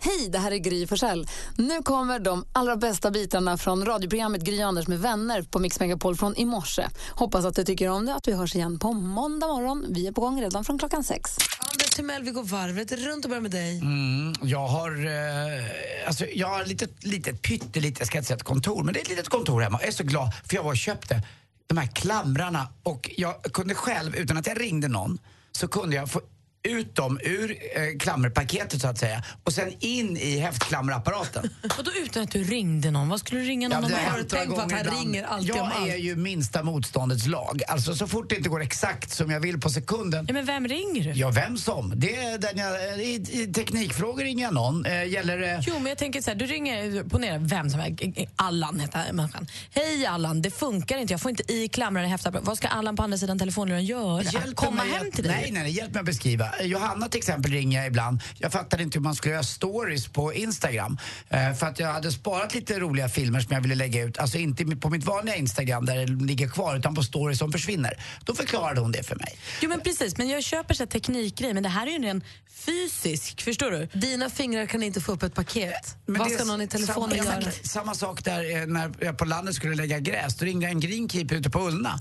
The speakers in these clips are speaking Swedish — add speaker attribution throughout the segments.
Speaker 1: Hej, det här är Gry Forssell. Nu kommer de allra bästa bitarna från radioprogrammet Gry Anders med vänner på Mix Megapol från i morse. Hoppas att du tycker om det att vi hörs igen på måndag morgon. Vi är på gång redan från klockan sex.
Speaker 2: Anders Timell, vi går varvet runt och börjar med dig.
Speaker 3: Mm, jag har, eh, alltså, jag har litet, litet pyttelitet, jag ska inte säga ett kontor, men det är ett litet kontor hemma. Jag är så glad för jag var och köpte de här klamrarna och jag kunde själv, utan att jag ringde någon, så kunde jag få ut dem ur eh, klammerpaketet så att säga och sen in i häftklammerapparaten.
Speaker 2: Och då utan att du ringde någon? Vad skulle du ringa någon
Speaker 3: Ja,
Speaker 2: om?
Speaker 3: det har
Speaker 2: Har du
Speaker 3: hänt
Speaker 2: tänkt
Speaker 3: några
Speaker 2: på att
Speaker 3: gånger
Speaker 2: han
Speaker 3: ibland.
Speaker 2: ringer alltid
Speaker 3: jag
Speaker 2: om
Speaker 3: är
Speaker 2: allt?
Speaker 3: ju minsta motståndets lag. Alltså så fort det inte går exakt som jag vill på sekunden
Speaker 2: Ja, men vem ringer du?
Speaker 3: Ja, vem som. Det är den jag, i, I teknikfrågor ringer jag någon. Eh, gäller det...
Speaker 2: Jo, men jag tänker så här, du ringer, ponera vem som helst, Allan heter han, människan. Hej Allan, det funkar inte, jag får inte i klamrarna i häftapparaten. Vad ska Allan på andra sidan telefonluren göra?
Speaker 3: Hjälp
Speaker 2: Komma
Speaker 3: mig
Speaker 2: hem
Speaker 3: att-
Speaker 2: till dig?
Speaker 3: Nej, nej, nej, hjälp mig att beskriva. Eh, Johanna till exempel ringer jag ibland. Jag fattade inte hur man skulle göra stories på Instagram. Eh, för att jag hade sparat lite roliga filmer som jag ville lägga ut. Alltså inte i- på mitt vanliga Instagram där det ligger kvar, utan på stories som försvinner. Då förklarade hon det för mig.
Speaker 2: Jo, men precis, men jag köper så här teknikgrej, men det här är ju en ren fysisk, förstår du?
Speaker 4: Dina fingrar kan inte få upp ett paket.
Speaker 3: Men
Speaker 4: Vad
Speaker 3: det är
Speaker 4: ska någon i telefonen
Speaker 3: samma,
Speaker 4: göra?
Speaker 3: Exakt, samma sak där eh, när jag på landet skulle lägga gräs. Då ringde en greenkeeper ute på Ullna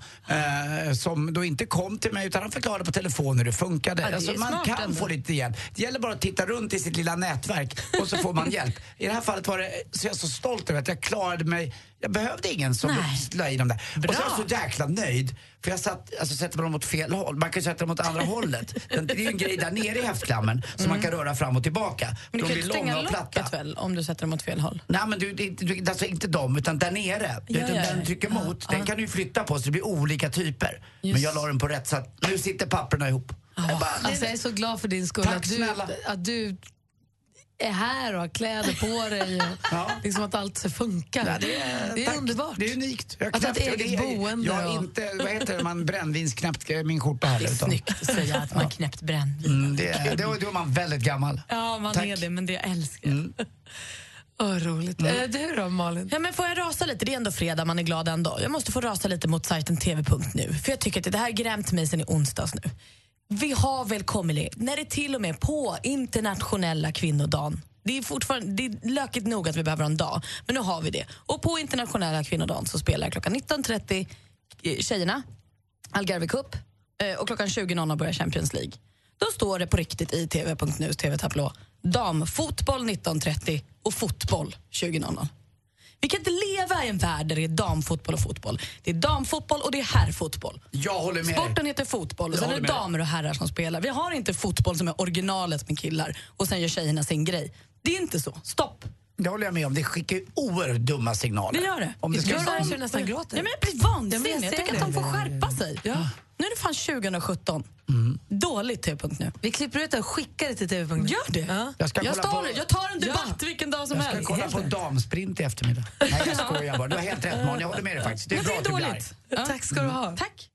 Speaker 3: eh, som då inte kom till mig utan han förklarade på telefon hur det funkade.
Speaker 2: det är
Speaker 3: alltså, man
Speaker 2: smart
Speaker 3: kan
Speaker 2: ändå.
Speaker 3: få lite hjälp. Det gäller bara att titta runt i sitt lilla nätverk och så får man hjälp. I det här fallet var det, så jag är så stolt över att jag klarade mig. Jag behövde ingen som
Speaker 2: Nej.
Speaker 3: la i dem där. Och så är jag
Speaker 2: Bra.
Speaker 3: så jäkla nöjd för jag satt, alltså, sätter man dem åt fel håll. Man kan ju sätta dem åt andra hållet. Den- Det är ju en grej där nere i häftklammen som man kan röra fram och tillbaka.
Speaker 2: Mm. Men du
Speaker 3: De
Speaker 2: kan ju
Speaker 3: blir
Speaker 2: inte stänga
Speaker 3: långa och platta.
Speaker 2: locket väl, om du sätter dem åt fel håll?
Speaker 3: Nej men du, det är inte- du, alltså inte dem utan där nere. Du
Speaker 2: Ja,
Speaker 3: vet,
Speaker 2: ja,
Speaker 3: den
Speaker 2: ja.
Speaker 3: trycker mot,
Speaker 2: Ja,
Speaker 3: den
Speaker 2: ja.
Speaker 3: kan du ju flytta på så det blir olika typer. Men jag la den på rätt så att nu sitter papperna ihop. Jag bara,
Speaker 4: Alltså, jag är så glad för din skull
Speaker 3: Tack
Speaker 4: att du,
Speaker 3: snälla.
Speaker 4: att du är här och har kläder på dig och
Speaker 3: Ja.
Speaker 4: liksom att allt funkar.
Speaker 3: Ja,
Speaker 4: det, är,
Speaker 3: tack.
Speaker 4: underbart.
Speaker 3: Det är unikt. Jag
Speaker 4: Att
Speaker 2: Alltså,
Speaker 4: ha ett
Speaker 3: knäppte-
Speaker 4: eget
Speaker 3: det är-
Speaker 4: boende
Speaker 3: Jag har
Speaker 4: och-
Speaker 3: inte, vad heter det, man brännvinsknäppt min skjorta heller.
Speaker 2: Det är
Speaker 3: utan-
Speaker 2: snyggt att säga att man knäppt brännvin.
Speaker 3: Mm, det, är- då, då är man väldigt gammal. Mm.
Speaker 2: Ja, man
Speaker 3: Tack.
Speaker 2: är det, men det jag älskar jag.
Speaker 4: Åh, roligt.
Speaker 3: Mm.
Speaker 4: Eh, du då, Malin?
Speaker 2: Ja, men får jag rasa lite? Det är ändå fredag, man är glad ändå. Jag måste få rasa lite mot sajten tv.nu. För jag tycker att det här har grämt mig sen i onsdags nu. Vi har väl kommit längre. När det är till och med på internationella kvinnodagen. Det är fortfarande det är lökigt nog att vi behöver ha en dag, men nu har vi det. Och på internationella kvinnodagen så spelar klockan 19.30 eh, tjejerna Algarve Cup eh, och klockan 20.00 börjar Champions League. Då står det på riktigt i tv.nus tv-tablå damfotboll 19.30 och fotboll 20.00. Vi kan inte leva i en värld där det är damfotboll och fotboll. Det är damfotboll och det är herrfotboll.
Speaker 3: Jag håller med dig.
Speaker 2: Sporten heter fotboll och
Speaker 3: Jag
Speaker 2: sen är det
Speaker 3: håller med dig.
Speaker 2: damer och herrar som spelar. Vi har inte fotboll som är originalet med killar och sen gör tjejerna sin grej. Det är inte så. Stopp.
Speaker 3: Det håller jag med om. Det skickar ju oerhört dumma signaler.
Speaker 2: Det gör det.
Speaker 3: Om det ska
Speaker 4: Gör
Speaker 2: Gör
Speaker 4: det
Speaker 2: om-
Speaker 4: så du nästan gråter.
Speaker 2: Ja, men jag blir
Speaker 4: Ja,
Speaker 2: vansinnig.
Speaker 4: men jag
Speaker 2: jag,
Speaker 4: ser
Speaker 2: tycker att
Speaker 4: det.
Speaker 2: de får skärpa sig. Nu är det fan 2017.
Speaker 3: Mm.
Speaker 2: Dåligt tv nu.
Speaker 4: Vi klipper ut det och skickar det till tv.
Speaker 2: Gör det.
Speaker 4: Ja.
Speaker 3: Jag ska
Speaker 2: Jag,
Speaker 3: kolla
Speaker 2: står,
Speaker 3: på-
Speaker 2: jag tar en debatt vilken dag som
Speaker 3: Jag ska
Speaker 2: helst.
Speaker 3: kolla på damsprint i eftermiddag. Nej, jag skojar bara. Du har helt rätt Malin, jag håller med dig faktiskt. Det är
Speaker 2: Men
Speaker 3: bra
Speaker 2: det är
Speaker 3: att du blir
Speaker 2: dåligt.
Speaker 3: arg.
Speaker 2: Ja.
Speaker 4: Tack ska du ha.
Speaker 2: Tack.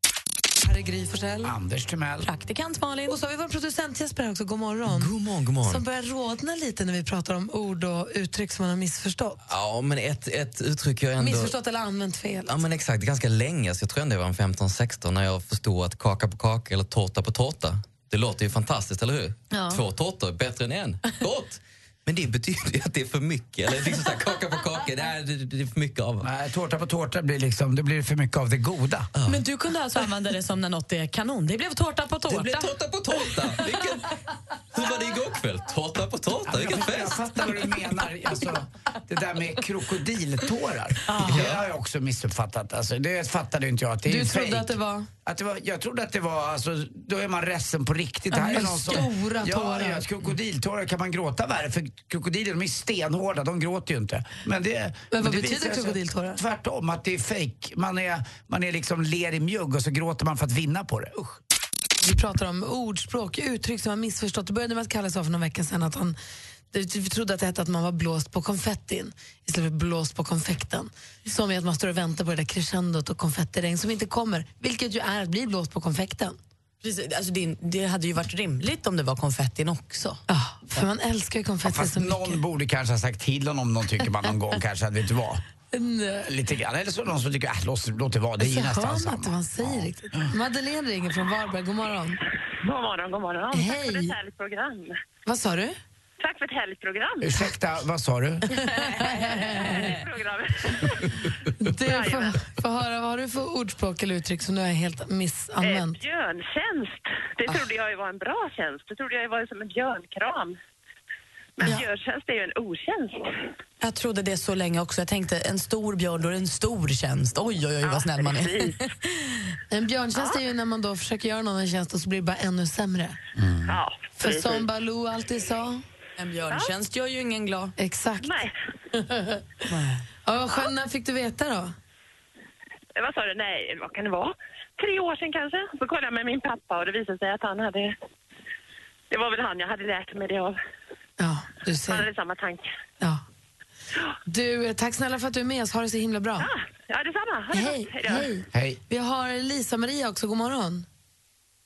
Speaker 4: Här är Gry Forssell.
Speaker 3: Anders Timell.
Speaker 2: Praktikant Malin.
Speaker 4: Och så har vi vår producent Jesper här också. God morgon.
Speaker 5: God morgon, god morgon.
Speaker 4: Som börjar rodna lite när vi pratar om ord och uttryck som man har missförstått.
Speaker 5: Ja, men ett, ett uttryck jag ändå...
Speaker 4: Missförstått eller använt fel.
Speaker 5: Ja, men exakt. Ganska länge, så jag tror ändå jag var en 15-16 när jag förstod att kaka på kaka eller tårta på tårta, det låter ju fantastiskt, eller hur? Två tårtor, bättre än en. Gott! Men det betyder ju att det är för mycket. Eller liksom så här, kaka på kaka, det, här, det, det är för mycket av.
Speaker 3: Nej, tårta på tårta blir liksom, det blir för mycket av det goda.
Speaker 2: Men du kunde alltså använda det som när något är kanon. Det blev tårta på tårta.
Speaker 5: Det blev tårta på tårta! Vilken... Hur var det igår kväll? Tårta på tårta,
Speaker 3: jag,
Speaker 5: vilken
Speaker 3: fattar- jag
Speaker 5: fest!
Speaker 3: fattar vad du menar. Alltså, det där med krokodiltårar, det har jag också missuppfattat. Alltså, det fattade ju inte jag. Att det är
Speaker 4: Du
Speaker 3: ju
Speaker 4: trodde
Speaker 3: fake.
Speaker 4: att det var-
Speaker 3: Att det var... Jag trodde att det var, alltså, då är man ledsen på riktigt. Det här är
Speaker 4: men
Speaker 3: någon som,
Speaker 4: stora
Speaker 3: ja,
Speaker 4: tårar.
Speaker 3: ja, krokodiltårar kan man gråta värre för krokodiler de är ju stenhårda, de gråter ju inte. Men, det,
Speaker 4: Men vad
Speaker 3: det
Speaker 4: betyder
Speaker 3: visar sig
Speaker 4: krokodiltårar?
Speaker 3: Tvärtom, att det är fake. Man är, man är liksom ler i mjugg och så gråter man för att vinna på det. Usch.
Speaker 4: vi pratar om ordspråk, uttryck som man missförstått. Det började med att Kalle sa för någon vecka sedan att han vi trodde att det hette att man var blåst på konfettin istället för blåst på konfekten. Som är att man står och väntar på det där crescendot och konfettiregn som inte kommer, vilket ju är att bli blåst på konfekten.
Speaker 2: Precis, alltså det, det hade ju varit rimligt om det var konfettin också.
Speaker 4: Ja, för man älskar ju konfetti
Speaker 3: Fast
Speaker 4: så mycket.
Speaker 3: någon borde kanske ha sagt till honom om någon tycker man någon gång kanske att vet du vad. Lite grann. Eller så är det någon som tycker att låt, låt det vara, det är ju
Speaker 4: Så hör
Speaker 3: nästan
Speaker 4: man inte vad
Speaker 3: samma.
Speaker 4: han säger riktigt. Madeleine ringer från Varberg, god morgon.
Speaker 6: God morgon, god morgon. Tack för
Speaker 4: Hej.
Speaker 6: ett helgprogram.
Speaker 4: Vad sa du?
Speaker 6: Tack för ett helgprogram.
Speaker 3: Ursäkta, vad sa du?
Speaker 6: Program.
Speaker 4: Du får, får höra, vad har du för ordspråk eller uttryck som du har helt
Speaker 6: Eh,
Speaker 4: missanvänt?
Speaker 6: björntjänst. Det
Speaker 7: Ah.
Speaker 6: trodde jag ju var en bra tjänst. Det trodde jag ju var som en björnkram. Men björntjänst är ju en otjänst.
Speaker 2: Jag trodde det så länge också. Jag tänkte en stor björn, då är det en stor tjänst. Oj, oj, oj vad snäll man är.
Speaker 6: precis. Eh.
Speaker 4: En björntjänst är ju när man då försöker göra någon en tjänst och så blir det bara ännu sämre.
Speaker 8: Mm.
Speaker 6: Ja,
Speaker 4: För
Speaker 6: precis.
Speaker 4: som Baloo alltid sa.
Speaker 2: En björntjänst gör ju ingen glad.
Speaker 4: Exakt.
Speaker 6: Nej,
Speaker 4: Ja, vad skönt, när fick du veta då?
Speaker 6: Eh, vad sa du? Nej, vad kan det vara? Tre år sedan kanske. Så kollade jag med min pappa och det visade sig att han hade... Det var väl han jag hade lärt mig det av.
Speaker 4: Ja, du
Speaker 6: Han
Speaker 4: ser.
Speaker 6: hade samma tanke.
Speaker 4: Ja. Du, eh, tack snälla för att du är med oss. Ha det så himla bra.
Speaker 6: Ah, ja, detsamma. Ha det
Speaker 4: Hej,
Speaker 6: gott. Hej då.
Speaker 4: hej.
Speaker 3: Hej.
Speaker 4: Vi har Lisa-Maria också, god morgon.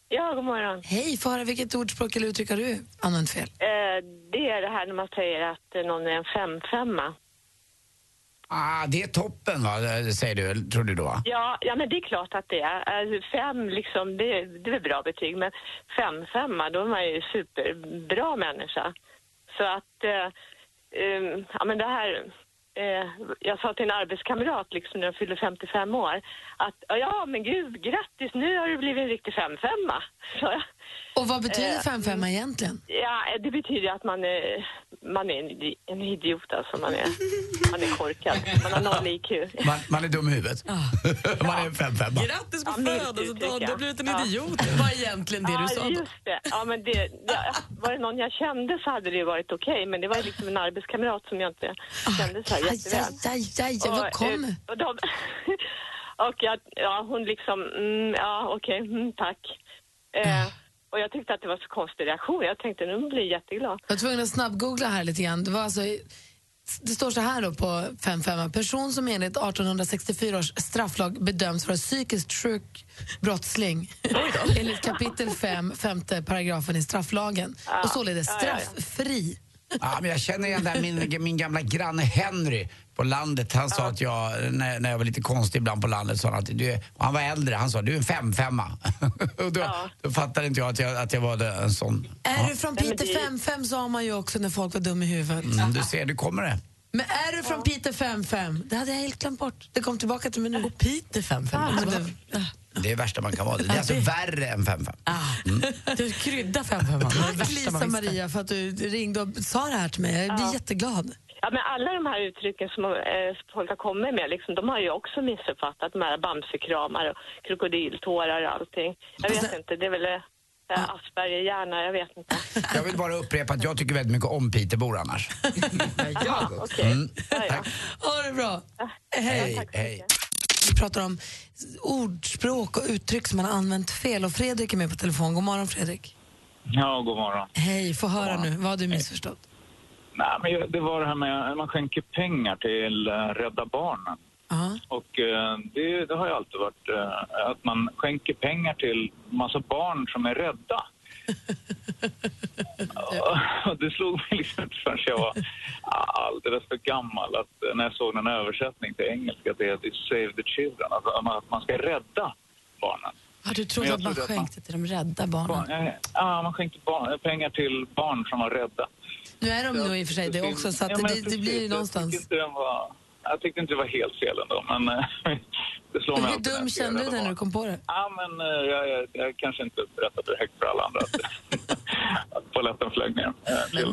Speaker 9: Ja, god morgon.
Speaker 4: Hej, få höra vilket ordspråk eller uttryck har du använt fel?
Speaker 9: Eh, det är det här när man säger att eh, någon är en femfemma.
Speaker 3: Ah, det är toppen va, det säger du, tror du då? va?
Speaker 9: Ja, ja, men det är klart att det är. Alltså, fem, liksom, det, det är väl bra betyg, men femfemma, då är man ju superbra människa. Så att, eh, eh, ja men det här... Eh, jag sa till en arbetskamrat liksom, när jag fyllde 55 år att ja, men gud, grattis, nu har du blivit en riktig femfemma. Så,
Speaker 4: Och vad betyder
Speaker 9: Eh,
Speaker 4: femfemma egentligen?
Speaker 9: ja, det betyder att man är, man är en, en idiot, alltså. Man är, man är korkad. Man har noll IQ.
Speaker 3: Man, man är dum i huvudet. man är en femfemma.
Speaker 2: Grattis på
Speaker 9: Ja, milt uttryck,
Speaker 2: födelsedagen, du
Speaker 9: ja.
Speaker 2: har blivit en
Speaker 9: Ja.
Speaker 2: idiot. Det var egentligen det
Speaker 9: ja,
Speaker 2: du sa då.
Speaker 9: just det. Ja, men det, ja, var det någon jag kände så hade det ju varit okej, men det var ju liksom en arbetskamrat som jag inte
Speaker 2: Ah,
Speaker 9: kände så här
Speaker 4: Aj,
Speaker 9: jätteväl.
Speaker 4: aj, aj, aj, vad kommer?
Speaker 9: eh, Och, de, och jag, ja, hon liksom, mm, ja okej, mm, tack.
Speaker 2: Ah.
Speaker 9: Eh, och jag tyckte att det var så konstig reaktion. Jag tänkte nu blir jag jätteglad.
Speaker 4: Jag var tvungen att snabbgoogla här lite grann. Det, var alltså, det står så här då på 55. Person som enligt 1864 års strafflag bedöms vara psykiskt sjuk brottsling enligt kapitel 5, femte paragrafen i strafflagen och således
Speaker 9: Ja, ja, ja.
Speaker 4: strafffri.
Speaker 3: Ja, men jag känner igen det här, min, min gamla granne Henry på landet. Han sa att jag, när, när jag var lite konstig ibland på landet, sa han att du, är- han var äldre, han sa du är en femfemma. Och då, då fattade inte jag att jag, att jag var det- en sån.
Speaker 4: Är du från
Speaker 9: Nej, men
Speaker 4: Peter
Speaker 9: det-
Speaker 4: 55 sa man ju också när folk var dum i huvudet.
Speaker 3: Mm, du ser, du kommer det.
Speaker 4: Men är du från Peter 55? Det hade jag helt glömt bort. Det kom tillbaka till mig nu.
Speaker 2: Och Peter Alltså, femfemma.
Speaker 4: Ja, men det-
Speaker 3: Det är det värsta man kan vara. Det är alltså värre än femfemma.
Speaker 2: Du krydda femfemman. Det var det
Speaker 4: Ah. Tack
Speaker 2: värsta man visste.
Speaker 4: Lisa-Maria för att du ringde och sa det här till mig. Jag blir jätteglad.
Speaker 9: Ja, men alla de här uttrycken som eh, folk har kommit med, liksom, de har ju också missuppfattat. De här bamsekramar och krokodiltårar och allting. Jag vet inte, det är väl eh, Asperger-hjärna, jag vet inte.
Speaker 3: Jag vill bara upprepa att jag tycker väldigt mycket om Piteåbor annars. Mm.
Speaker 9: Ja, okej. Ja, ja.
Speaker 4: Ha det bra. Eh,
Speaker 3: Hej,
Speaker 9: tack så
Speaker 3: hej.
Speaker 9: mycket.
Speaker 4: Vi pratar om ordspråk och uttryck som man har använt fel. Och Fredrik är med på telefon. God morgon, Fredrik.
Speaker 8: Ja, god morgon.
Speaker 4: Hej, få höra nu. Vad har du missförstått?
Speaker 8: Nej, men ju- det var det här med att man skänker pengar till eh, Rädda Barnen.
Speaker 4: Ja.
Speaker 8: Och eh, det, det har ju alltid varit eh, att man skänker pengar till massa barn som är rädda. Och det slog mig liksom inte förrän jag var alldeles för gammal att eh, när jag såg en översättning till engelska att det heter Save the Children, att man- att man ska rädda barnen.
Speaker 2: Har du trott
Speaker 8: Men jag
Speaker 2: att man
Speaker 8: trodde att man-
Speaker 2: skänkte till de rädda barnen?
Speaker 8: Barn, eh, ja, man skänker barn, eh, pengar till barn som var rädda.
Speaker 4: Nu är de nog i och för sig det också, så att
Speaker 8: Ja, men
Speaker 4: det, det
Speaker 8: precis.
Speaker 4: blir ju
Speaker 8: Jag
Speaker 4: någonstans.
Speaker 8: tyckte, inte den var, jag tyckte inte det var helt fel ändå, men eh, det slår mig
Speaker 4: Hur
Speaker 8: alltid när
Speaker 4: dum
Speaker 8: jag ser
Speaker 4: kände du
Speaker 8: det.
Speaker 4: dig när du kom på det?
Speaker 8: Ja, men eh, jag, jag, jag kanske inte berättade högt för alla andra att, att polletten flög ner. eh, till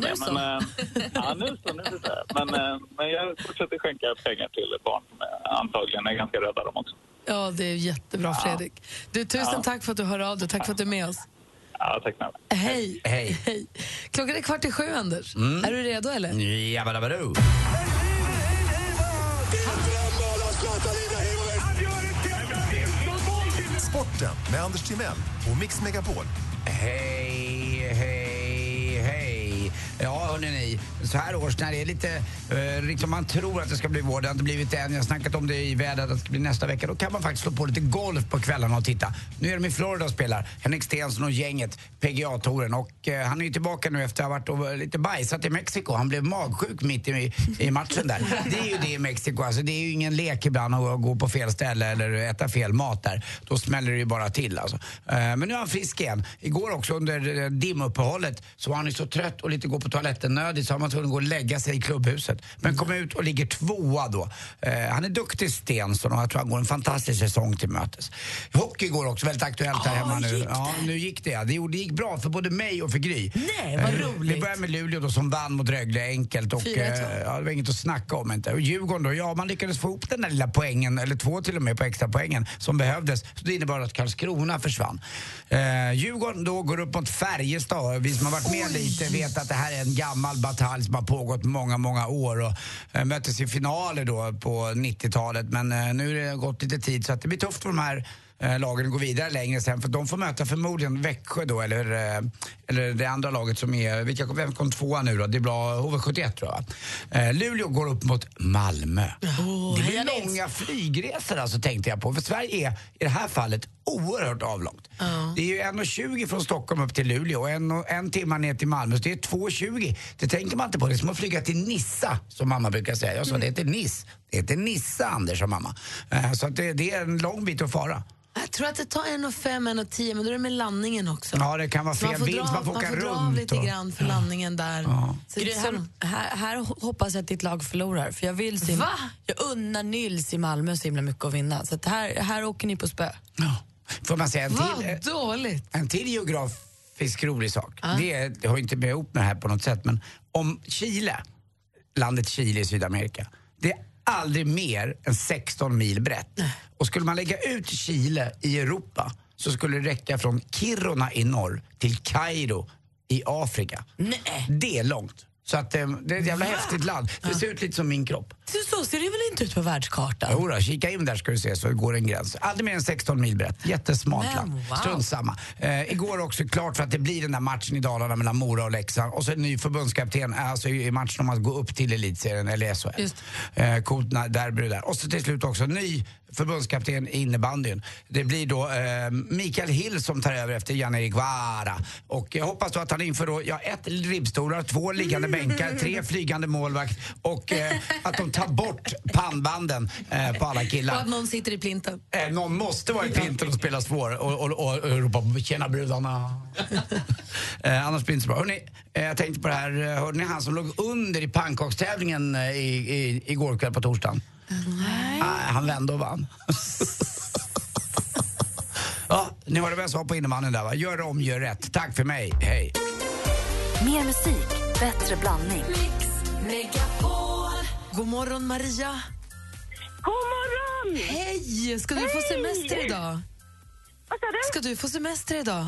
Speaker 2: nu
Speaker 8: mig.
Speaker 2: så.
Speaker 8: Men, eh, ja, nu så. Nu så där. Men, eh, men jag fortsätter skänka pengar till barn som eh, antagligen är ganska rädda de också.
Speaker 4: Ja, det är jättebra, Fredrik. Du, tusen tack för att du hör av dig. Tack för att du är med oss.
Speaker 8: Ja, tack snälla.
Speaker 4: Hej.
Speaker 3: Hej. Mm.
Speaker 4: Klockan är kvart i sju, Anders. Är du redo, eller?
Speaker 3: Jabbadabbadoo.
Speaker 7: Sport
Speaker 10: Sporten med Anders Timell och Mix Megapol.
Speaker 3: Hej, hej, hej. Ja, hörni ni. Så här års när det är lite... Eh, liksom man tror att det ska bli vår, det har inte blivit det än. Jag har snackat om det i vädret att det ska bli nästa vecka. Då kan man faktiskt slå på lite golf på kvällarna och titta. Nu är de i Florida och spelar. Henrik Stenson och gänget, PGA-touren. Och eh, han är ju tillbaka nu efter att ha varit och lite bajsat i Mexiko. Han blev magsjuk mitt i, i matchen där. Det är ju det i Mexiko. Alltså, det är ju ingen lek ibland att gå på fel ställe eller äta fel mat där. Då smäller det ju bara till alltså. Eh, Men nu är han frisk igen. Igår också under eh, dimuppehållet så var han ju så trött och lite gå på toaletten nödig så han var tvungen att gå och lägga sig i klubbhuset. Men kom ut och ligger tvåa då. Eh, Han är duktig Stensson och jag tror han går en fantastisk säsong till mötes. Hockey går också väldigt aktuellt här hemma nu. Ja, nu gick det. Det gjorde- det gick bra för både mig och för Gry. Eh,
Speaker 2: Nej, vad roligt.
Speaker 3: Vi börjar med Luleå då som vann mot Rögle enkelt. Och,
Speaker 2: 4-1, va?
Speaker 3: eh, ja, det var inget att snacka om inte. Och Djurgården då, ja man lyckades få ihop den där lilla poängen, eller två till och med på extra poängen som behövdes. Så det innebar att Karlskrona försvann. Eh, Djurgården då går upp mot Färjestad. Vi som har varit med lite vet att det här är en gammal batalj som har pågått många, många år och eh, möttes i finaler då på 90-talet. Men eh, nu har det gått lite tid så att det blir tufft för de här eh, lagen går vidare längre sen för de får möta förmodligen Växjö då eller, eh, eller det andra laget som är, vilka, vem kom tvåa nu då? Det blir HV71 tror jag. Eh, Luleå går upp mot Malmö. det blir långa flygresor alltså tänkte jag på för Sverige är i det här fallet oerhört avlångt. Det är ju 1.20 från Stockholm upp till Luleå och en, och en timme ner till Malmö så det är 2.20. Det tänker man inte på. Det är som att flyga till Nissa som mamma brukar säga. Jag sa det heter Niss. Det heter Nissa Anders sa mamma. Eh, så att det, det är en lång bit att fara.
Speaker 4: Jag tror att det tar en och fem, en och tio, men då är det med landningen också.
Speaker 3: Ja, det kan vara
Speaker 4: Så man
Speaker 3: fel
Speaker 4: får
Speaker 3: vinst.
Speaker 4: dra,
Speaker 3: Man får åka
Speaker 4: dra
Speaker 3: runt.
Speaker 4: av lite
Speaker 3: och-
Speaker 4: grann för landningen där. Så-
Speaker 2: Gry, här, här, här hoppas jag att ditt lag förlorar. För jag, vill så himla-
Speaker 4: Va?
Speaker 2: jag unnar Nils i Malmö så himla mycket att vinna. Så att här, här åker ni på spö.
Speaker 3: Får man säga en
Speaker 2: Vad
Speaker 3: till? eh,
Speaker 4: dåligt.
Speaker 3: En till geografisk rolig sak.
Speaker 2: Ah.
Speaker 3: Det, är- det har ju inte med ihop med det här på något sätt, men om Chile, landet Chile i Sydamerika, det är aldrig mer än 16 mil brett. Och skulle man lägga ut Chile i Europa så skulle det räcka från Kiruna i norr till Kairo i Afrika. Det är långt. Så att, eh, det är ett jävla häftigt land. Det ser ut lite som min kropp.
Speaker 2: Så, så ser det väl inte ut på världskartan?
Speaker 3: Jo då, kika in där ska du se så går en gräns. Aldrig mer än 16 mil brett. Jättesmart
Speaker 2: Men,
Speaker 3: land.
Speaker 2: wow.
Speaker 3: Strunt samma. Eh, igår också klart för att det blir den där matchen i Dalarna mellan Mora och Leksand. Och så en ny förbundskapten, eh, alltså i i matchen om att gå upp till elitserien eller SHL. Eh, coolt na- derby det där. Och så till slut också ny förbundskapten i innebandyn. Det blir då eh, Mikael Hill som tar över efter Jan-Erik Vara. Och jag hoppas då att han inför då, ja, ett ribbstolar, två liggande bänkar, tre flygande målvakt och eh, att de tar bort pannbanden eh, på alla killar.
Speaker 4: Och att någon sitter i plinten.
Speaker 3: Eh, någon måste vara i plinten och spela svår och, och, och, och ropa “tjena brudarna”. eh, annars blir det inte så bra. Hörrni, eh, jag tänkte på det här, eh, hörde ni han som låg under i pannkakstävlingen eh, i, i, igår kväll på torsdagen?
Speaker 4: Ah,
Speaker 3: Nej. han vände och vann. ja, ni hörde vad jag sa på innebandyn där va? Gör om, gör rätt. Tack för mig, hej.
Speaker 11: Mer musik, bättre blandning.
Speaker 4: God morgon Maria.
Speaker 6: God morgon!
Speaker 4: Hej! Ska du få
Speaker 6: Hej!
Speaker 4: semester idag?
Speaker 6: Vad sa du?
Speaker 4: Ska du få semester idag?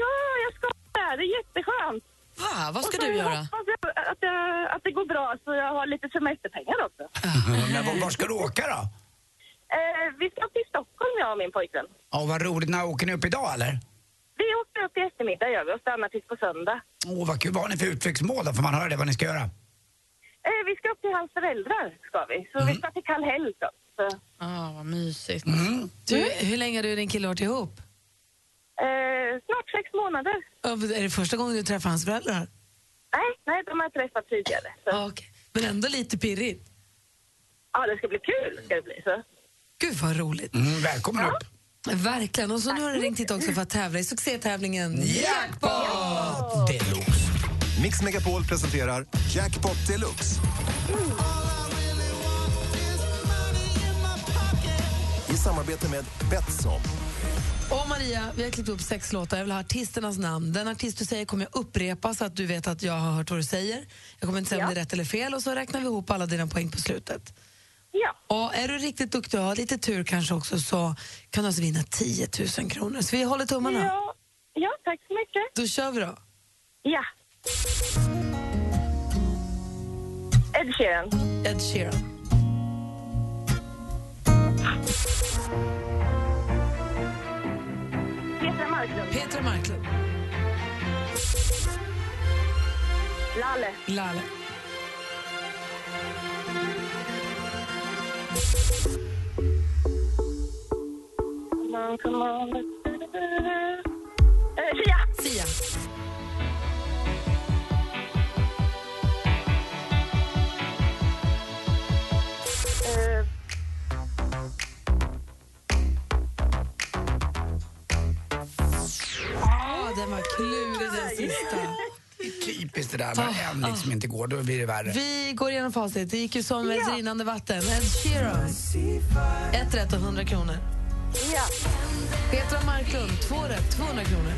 Speaker 6: Ja, jag ska där. Det är jätteskönt.
Speaker 2: Va? Vad ska
Speaker 6: Och så
Speaker 2: du göra?
Speaker 6: hoppas jag att, jag- att det går bra så jag har lite semesterpengar också.
Speaker 3: Men var, var ska du åka då?
Speaker 6: Eh, vi ska till Stockholm, jag och min pojkvän.
Speaker 3: Ja, vad roligt. När åker ni upp idag eller?
Speaker 6: Vi åker upp i eftermiddag gör vi och stannar tills på söndag.
Speaker 3: Åh, vad kul. Vad har ni för utflyktsmål då? Får man höra det, vad ni ska göra?
Speaker 6: Eh, vi ska upp till hans föräldrar, ska vi. Så vi ska till Kallhäll då. Så,
Speaker 2: Ah, vad mysigt.
Speaker 3: Mm.
Speaker 4: Du, hur länge har du och din kille varit ihop?
Speaker 6: eh, snart sex månader.
Speaker 4: Ö, Är det första gången du träffar hans föräldrar? Ah,
Speaker 6: Nej, nej, de har jag träffat tidigare. Så.
Speaker 4: Men ändå lite pirrigt.
Speaker 6: Ja, det ska bli kul ska det bli. Så.
Speaker 4: Gud vad roligt.
Speaker 3: Mm, välkommen upp.
Speaker 4: Verkligen. Och så nu har du ringt hit också för att tävla i succétävlingen
Speaker 10: Jackpot
Speaker 3: deluxe.
Speaker 10: Mix Megapol presenterar Jackpot deluxe. I samarbete med Betsson.
Speaker 4: Och Maria, vi har klippt upp sex låtar. Jag vill ha artisternas namn. Den artist du säger kommer jag upprepa så att du vet att jag har hört vad du säger. Jag kommer inte säga om det är rätt eller fel och så räknar vi ihop alla dina poäng på slutet. Ja. Och är du riktigt duktig och har lite tur kanske också så kan du alltså vinna 10 000 kronor. Så vi håller tummarna.
Speaker 6: Ja. ja, tack så mycket.
Speaker 4: Då kör vi då.
Speaker 6: Ja. Ed Sheeran.
Speaker 4: Ed Sheeran. Petra Marklund.
Speaker 6: Lalle.
Speaker 4: Lalle.
Speaker 6: Eh, Fia!
Speaker 4: Fia.
Speaker 6: Eh,
Speaker 4: Ja, den var klurig den sista. Ah.
Speaker 3: Typiskt det där när en liksom inte går, då blir det värre.
Speaker 4: Vi går igenom facit. Det gick ju som ett rinnande vatten. Ed Sheeran. Ett rätt och 100 kronor.
Speaker 6: Ja.
Speaker 4: Petra Marklund, två rätt, 200 kronor.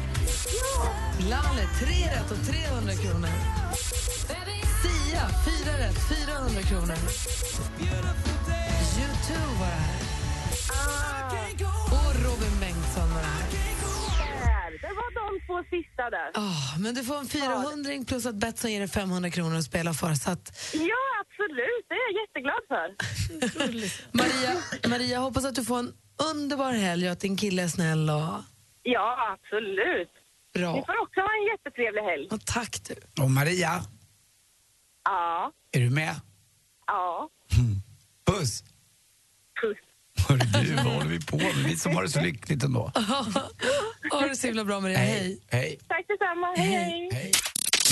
Speaker 4: Lalle, tre rätt och 300 kronor. Sia, fyra rätt, 400 kronor. U2 var det här. Och Robin Bengtsson var det här.
Speaker 6: Där. Det var de två sista där.
Speaker 4: Ah, men du får en 400 plus att Betsson ger dig 500 kronor att spela för. Så att
Speaker 6: Ja, absolut. Det är jag jätteglad för.
Speaker 4: Maria, Maria, hoppas att du får en underbar helg och att din kille är snäll. Och...
Speaker 6: Ja, absolut.
Speaker 4: Bra.
Speaker 6: Ni får också ha en jättetrevlig helg.
Speaker 4: tack du.
Speaker 3: Och Maria,
Speaker 6: Ja,
Speaker 3: är du med?
Speaker 6: ja.
Speaker 3: Puss!
Speaker 6: Puss.
Speaker 3: Hörru du, vad håller vi på med? Vi som har det så lyckligt ändå.
Speaker 4: ha det så himla bra Maria, hej.
Speaker 3: Hej.
Speaker 6: Tack detsamma, hej, hej.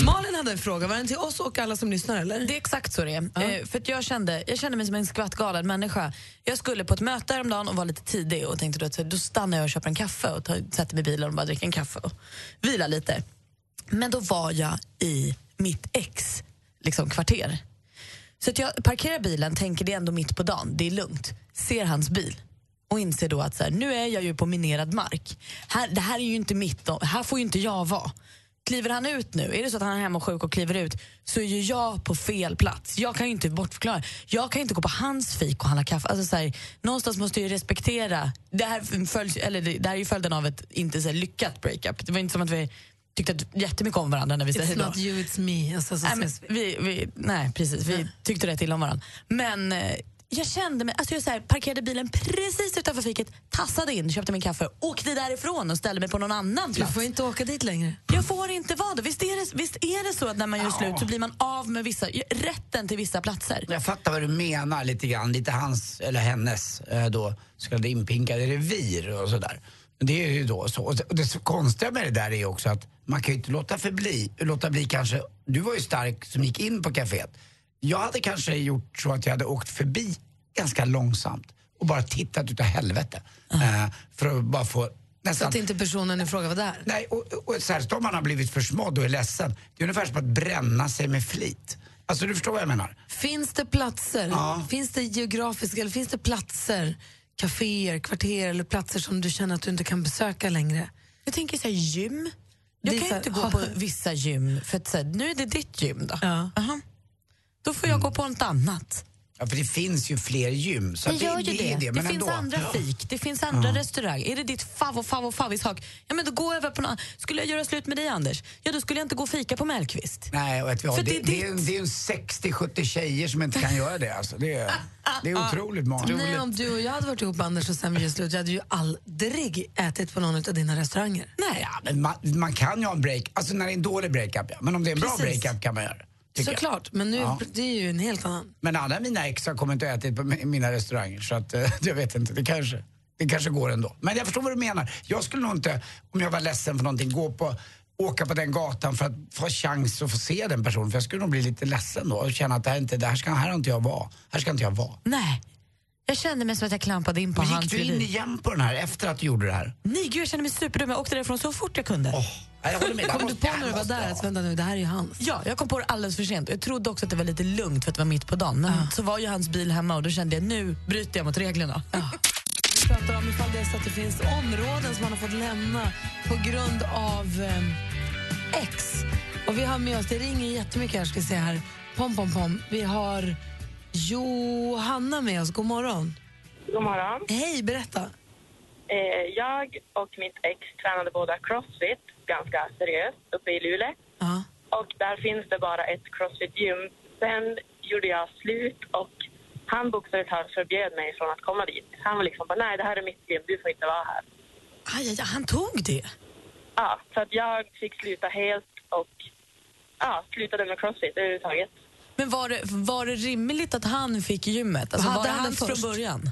Speaker 4: Malin hade en fråga, var den till oss och alla som lyssnar eller?
Speaker 2: Det är exakt så det är. Eh, för att jag, kände, jag kände mig som en skvatt galen människa. Jag skulle på ett möte häromdagen och var lite tidig och tänkte då att så här, då stannar jag och köper en kaffe och tar, sätter mig i bilen och bara dricker en kaffe och vilar lite. Men då var jag i mitt ex liksom, kvarter. Så att jag parkerar bilen, tänker det är ändå mitt på dagen, det är lugnt. Ser hans bil och inser då att så här, nu är jag ju på minerad mark. Här, det här är ju inte mitt, dom- här får ju inte jag vara. Kliver han ut nu, är det så att han är hemma och sjuk och kliver ut så är ju jag på fel plats. Jag kan ju inte bortförklara. Jag kan ju inte gå på hans fik och handla kaffe. Alltså så här, någonstans måste jag ju respektera. Det här, följs, eller det, det här är ju följden av ett inte så här lyckat breakup. Det var inte som att vi tyckte att jättemycket om varandra när vi säger
Speaker 4: It's
Speaker 2: hejdå.
Speaker 4: not you, it's me. Alltså, så
Speaker 2: Nej, men
Speaker 4: ses vi.
Speaker 2: vi, vi, nej, precis. Vi tyckte rätt illa om varandra. Men eh, jag kände mig... Alltså jag så här, parkerade bilen precis utanför fiket, tassade in, köpte min kaffe, åkte därifrån och ställde mig på någon annan
Speaker 4: Du
Speaker 2: plats.
Speaker 4: får inte åka dit längre.
Speaker 2: Jag får inte vara det. Visst är det, visst är det så att när man gör slut så blir man av med vissa, rätten till vissa platser?
Speaker 3: Jag fattar vad du menar lite grann. Lite hans, eller hennes, eh, då, så kallade inpinkade revir och sådär. Men Det är ju då så. Och det- och det så konstiga med det där är också att man kan ju inte låta förbli, låta bli kanske, du var ju stark som gick in på kaféet. Jag hade kanske gjort så att jag hade åkt förbi ganska långsamt och bara tittat utav helvete. Eh, för att bara få
Speaker 4: Så
Speaker 3: nästan
Speaker 4: att inte personen i fråga var där.
Speaker 3: Nej, och, och särskilt om man har blivit försmådd och är ledsen. Det är ungefär som att bränna sig med flit. Alltså du förstår vad jag menar?
Speaker 4: Finns det platser, finns det geografiska, eller finns det platser, kaféer, kvarter eller platser som du känner att du inte kan besöka längre?
Speaker 2: Jag tänker så här, gym. Jag
Speaker 4: Det
Speaker 2: kan
Speaker 4: är så
Speaker 2: ju
Speaker 4: här-
Speaker 2: inte gå på vissa gym, för att, så här, nu är det ditt gym då. Aha. Då får jag gå på något annat.
Speaker 3: Ja, för det finns ju fler gym. Så
Speaker 2: det
Speaker 3: att
Speaker 2: gör ju
Speaker 3: är
Speaker 2: det. Det,
Speaker 3: men
Speaker 2: finns
Speaker 3: ändå.
Speaker 2: andra fik, det finns andra restauranger. Är det ditt favvo, favvo, favvishak? Ja, men då går jag över på någon. Skulle jag göra slut med dig, Anders? Ja, då skulle jag inte gå och fika på Mellqvist.
Speaker 3: Nej, och vet vi, vad,
Speaker 2: För
Speaker 3: det,
Speaker 2: det är
Speaker 3: det, är en- det är ju 60-70 tjejer som inte kan göra det. Alltså. Det, är, det är otroligt många.
Speaker 4: Nej, om du och jag hade varit ihop med Anders och sen vi gjorde slut, jag hade ju aldrig ätit på någon av dina restauranger.
Speaker 2: Nej,
Speaker 3: ja, men man, man kan ju ha en break, alltså när det är en dålig breakup ja. Men om det är en bra
Speaker 4: Precis.
Speaker 3: breakup kan man göra det. tycker jag.
Speaker 4: Såklart, men nu
Speaker 3: Ja.
Speaker 4: det är ju en helt annan.
Speaker 3: Men alla mina ex har kommit och ätit på mi- mina restauranger så att eh, jag vet inte, det kanske, det kanske går ändå. Men jag förstår vad du menar. Jag skulle nog inte, om jag var ledsen för någonting, gå på åka på den gatan för att få chans att få se den personen. För jag skulle nog bli lite ledsen då och känna att det här, inte, det här, ska, här har inte jag vara. Här ska inte jag vara.
Speaker 2: Nej. Jag kände mig som att jag klampade in på
Speaker 3: Men
Speaker 2: hans
Speaker 3: gick du in
Speaker 2: revir.
Speaker 3: igen på den här efter att du gjorde det här?
Speaker 2: Nej, gud, jag kände mig superdum. Jag åkte därifrån så fort jag kunde.
Speaker 3: Nej, jag håller med.
Speaker 4: Kom du på när du var där att vänta nu, det här är ju hans?
Speaker 2: Ja, jag kom på det alldeles för sent. Jag trodde också att det var lite lugnt för att det var mitt på dagen. Men så var ju hans bil hemma och då kände jag nu bryter jag mot reglerna.
Speaker 4: Vi pratar om ifall det är så att det finns områden som man har fått lämna på grund av eh, ex. Och vi har med oss, det ringer jättemycket här ska vi se här. Pom, pom, pom. Vi har Johanna med oss, god morgon.
Speaker 6: God morgon.
Speaker 4: Hej, berätta.
Speaker 6: Eh, jag och mitt ex tränade båda crossfit ganska seriöst uppe i Luleå.
Speaker 4: Ja.
Speaker 6: Och där finns det bara ett crossfit-gym. Sen gjorde jag slut och han bokstavligt förbjöd mig från att komma dit. Han var liksom bara, nej det här är mitt gym, du får inte vara här.
Speaker 2: Aj, aj, aj, han tog det.
Speaker 6: ja, så att jag fick sluta helt och ja, slutade med crossfit överhuvudtaget.
Speaker 2: Men var det, var det rimligt att han fick gymmet? Alltså,
Speaker 6: Hade
Speaker 2: var det
Speaker 6: han
Speaker 2: han
Speaker 6: det
Speaker 2: från
Speaker 6: först?
Speaker 2: början?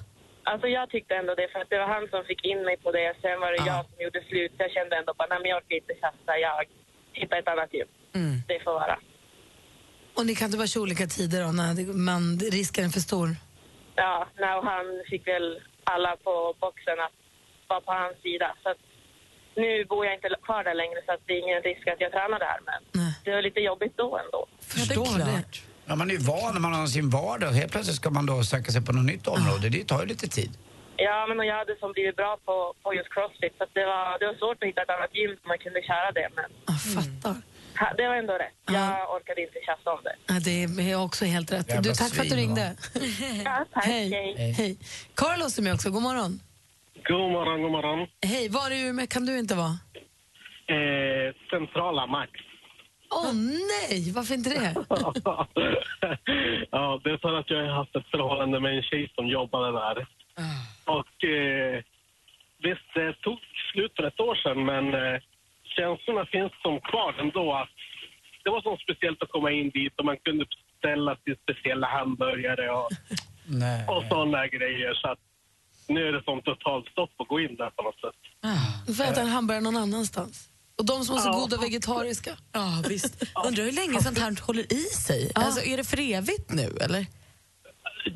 Speaker 6: Alltså jag tyckte ändå det för att det var han som fick in mig på det. Sen var det jag som gjorde slut. Jag kände ändå bara, nej men jag orkar inte tjafsa. Jag hittar ett annat gym. Det får vara.
Speaker 4: Och ni kan inte vara olika tider då, när det- man, risken är för stor?
Speaker 6: Ja, nej, och han fick väl alla på boxen att vara på hans sida. Så att nu bor jag inte kvar där längre så att det är ingen risk att jag tränar där. Men det var lite jobbigt då ändå.
Speaker 3: Förstår det. Ja, man är ju van, man har sin vardag. Helt plötsligt ska man då söka sig på något nytt område. Det tar ju lite tid.
Speaker 6: Ja, men och jag hade som blivit bra på, på just crossfit så att det, var, det var svårt att hitta ett annat gym som man kunde köra det. Men Ha- det var ändå rätt. Jag orkade inte tjafsa om det.
Speaker 4: Ja, det är också helt rätt.
Speaker 6: Jävla
Speaker 4: Du, tack för att du
Speaker 6: svin,
Speaker 4: ringde.
Speaker 6: Ja, tack.
Speaker 4: Hej. Hej. Carlos är med också. God morgon.
Speaker 12: God morgon, god morgon.
Speaker 4: Hej, var i Umeå kan du inte vara?
Speaker 12: Eh, centrala Max.
Speaker 4: Åh nej, varför inte det?
Speaker 12: ja, det är för att jag har haft ett förhållande med en tjej som jobbade där. Och eh, visst, det tog slut för ett år sedan, men eh, känslorna finns som kvar ändå. Att det var så speciellt att komma in dit och man kunde beställa sin speciella hamburgare och,
Speaker 3: Nej.
Speaker 12: och sådana grejer. Så att nu är det som totalt stopp att gå in där på något sätt.
Speaker 4: Du får äta en hamburgare någon annanstans. Och de som har så
Speaker 2: Ja.
Speaker 4: goda vegetariska.
Speaker 2: Ja, visst. Undrar hur länge sånt här håller i sig? Alltså, är det för evigt nu, eller?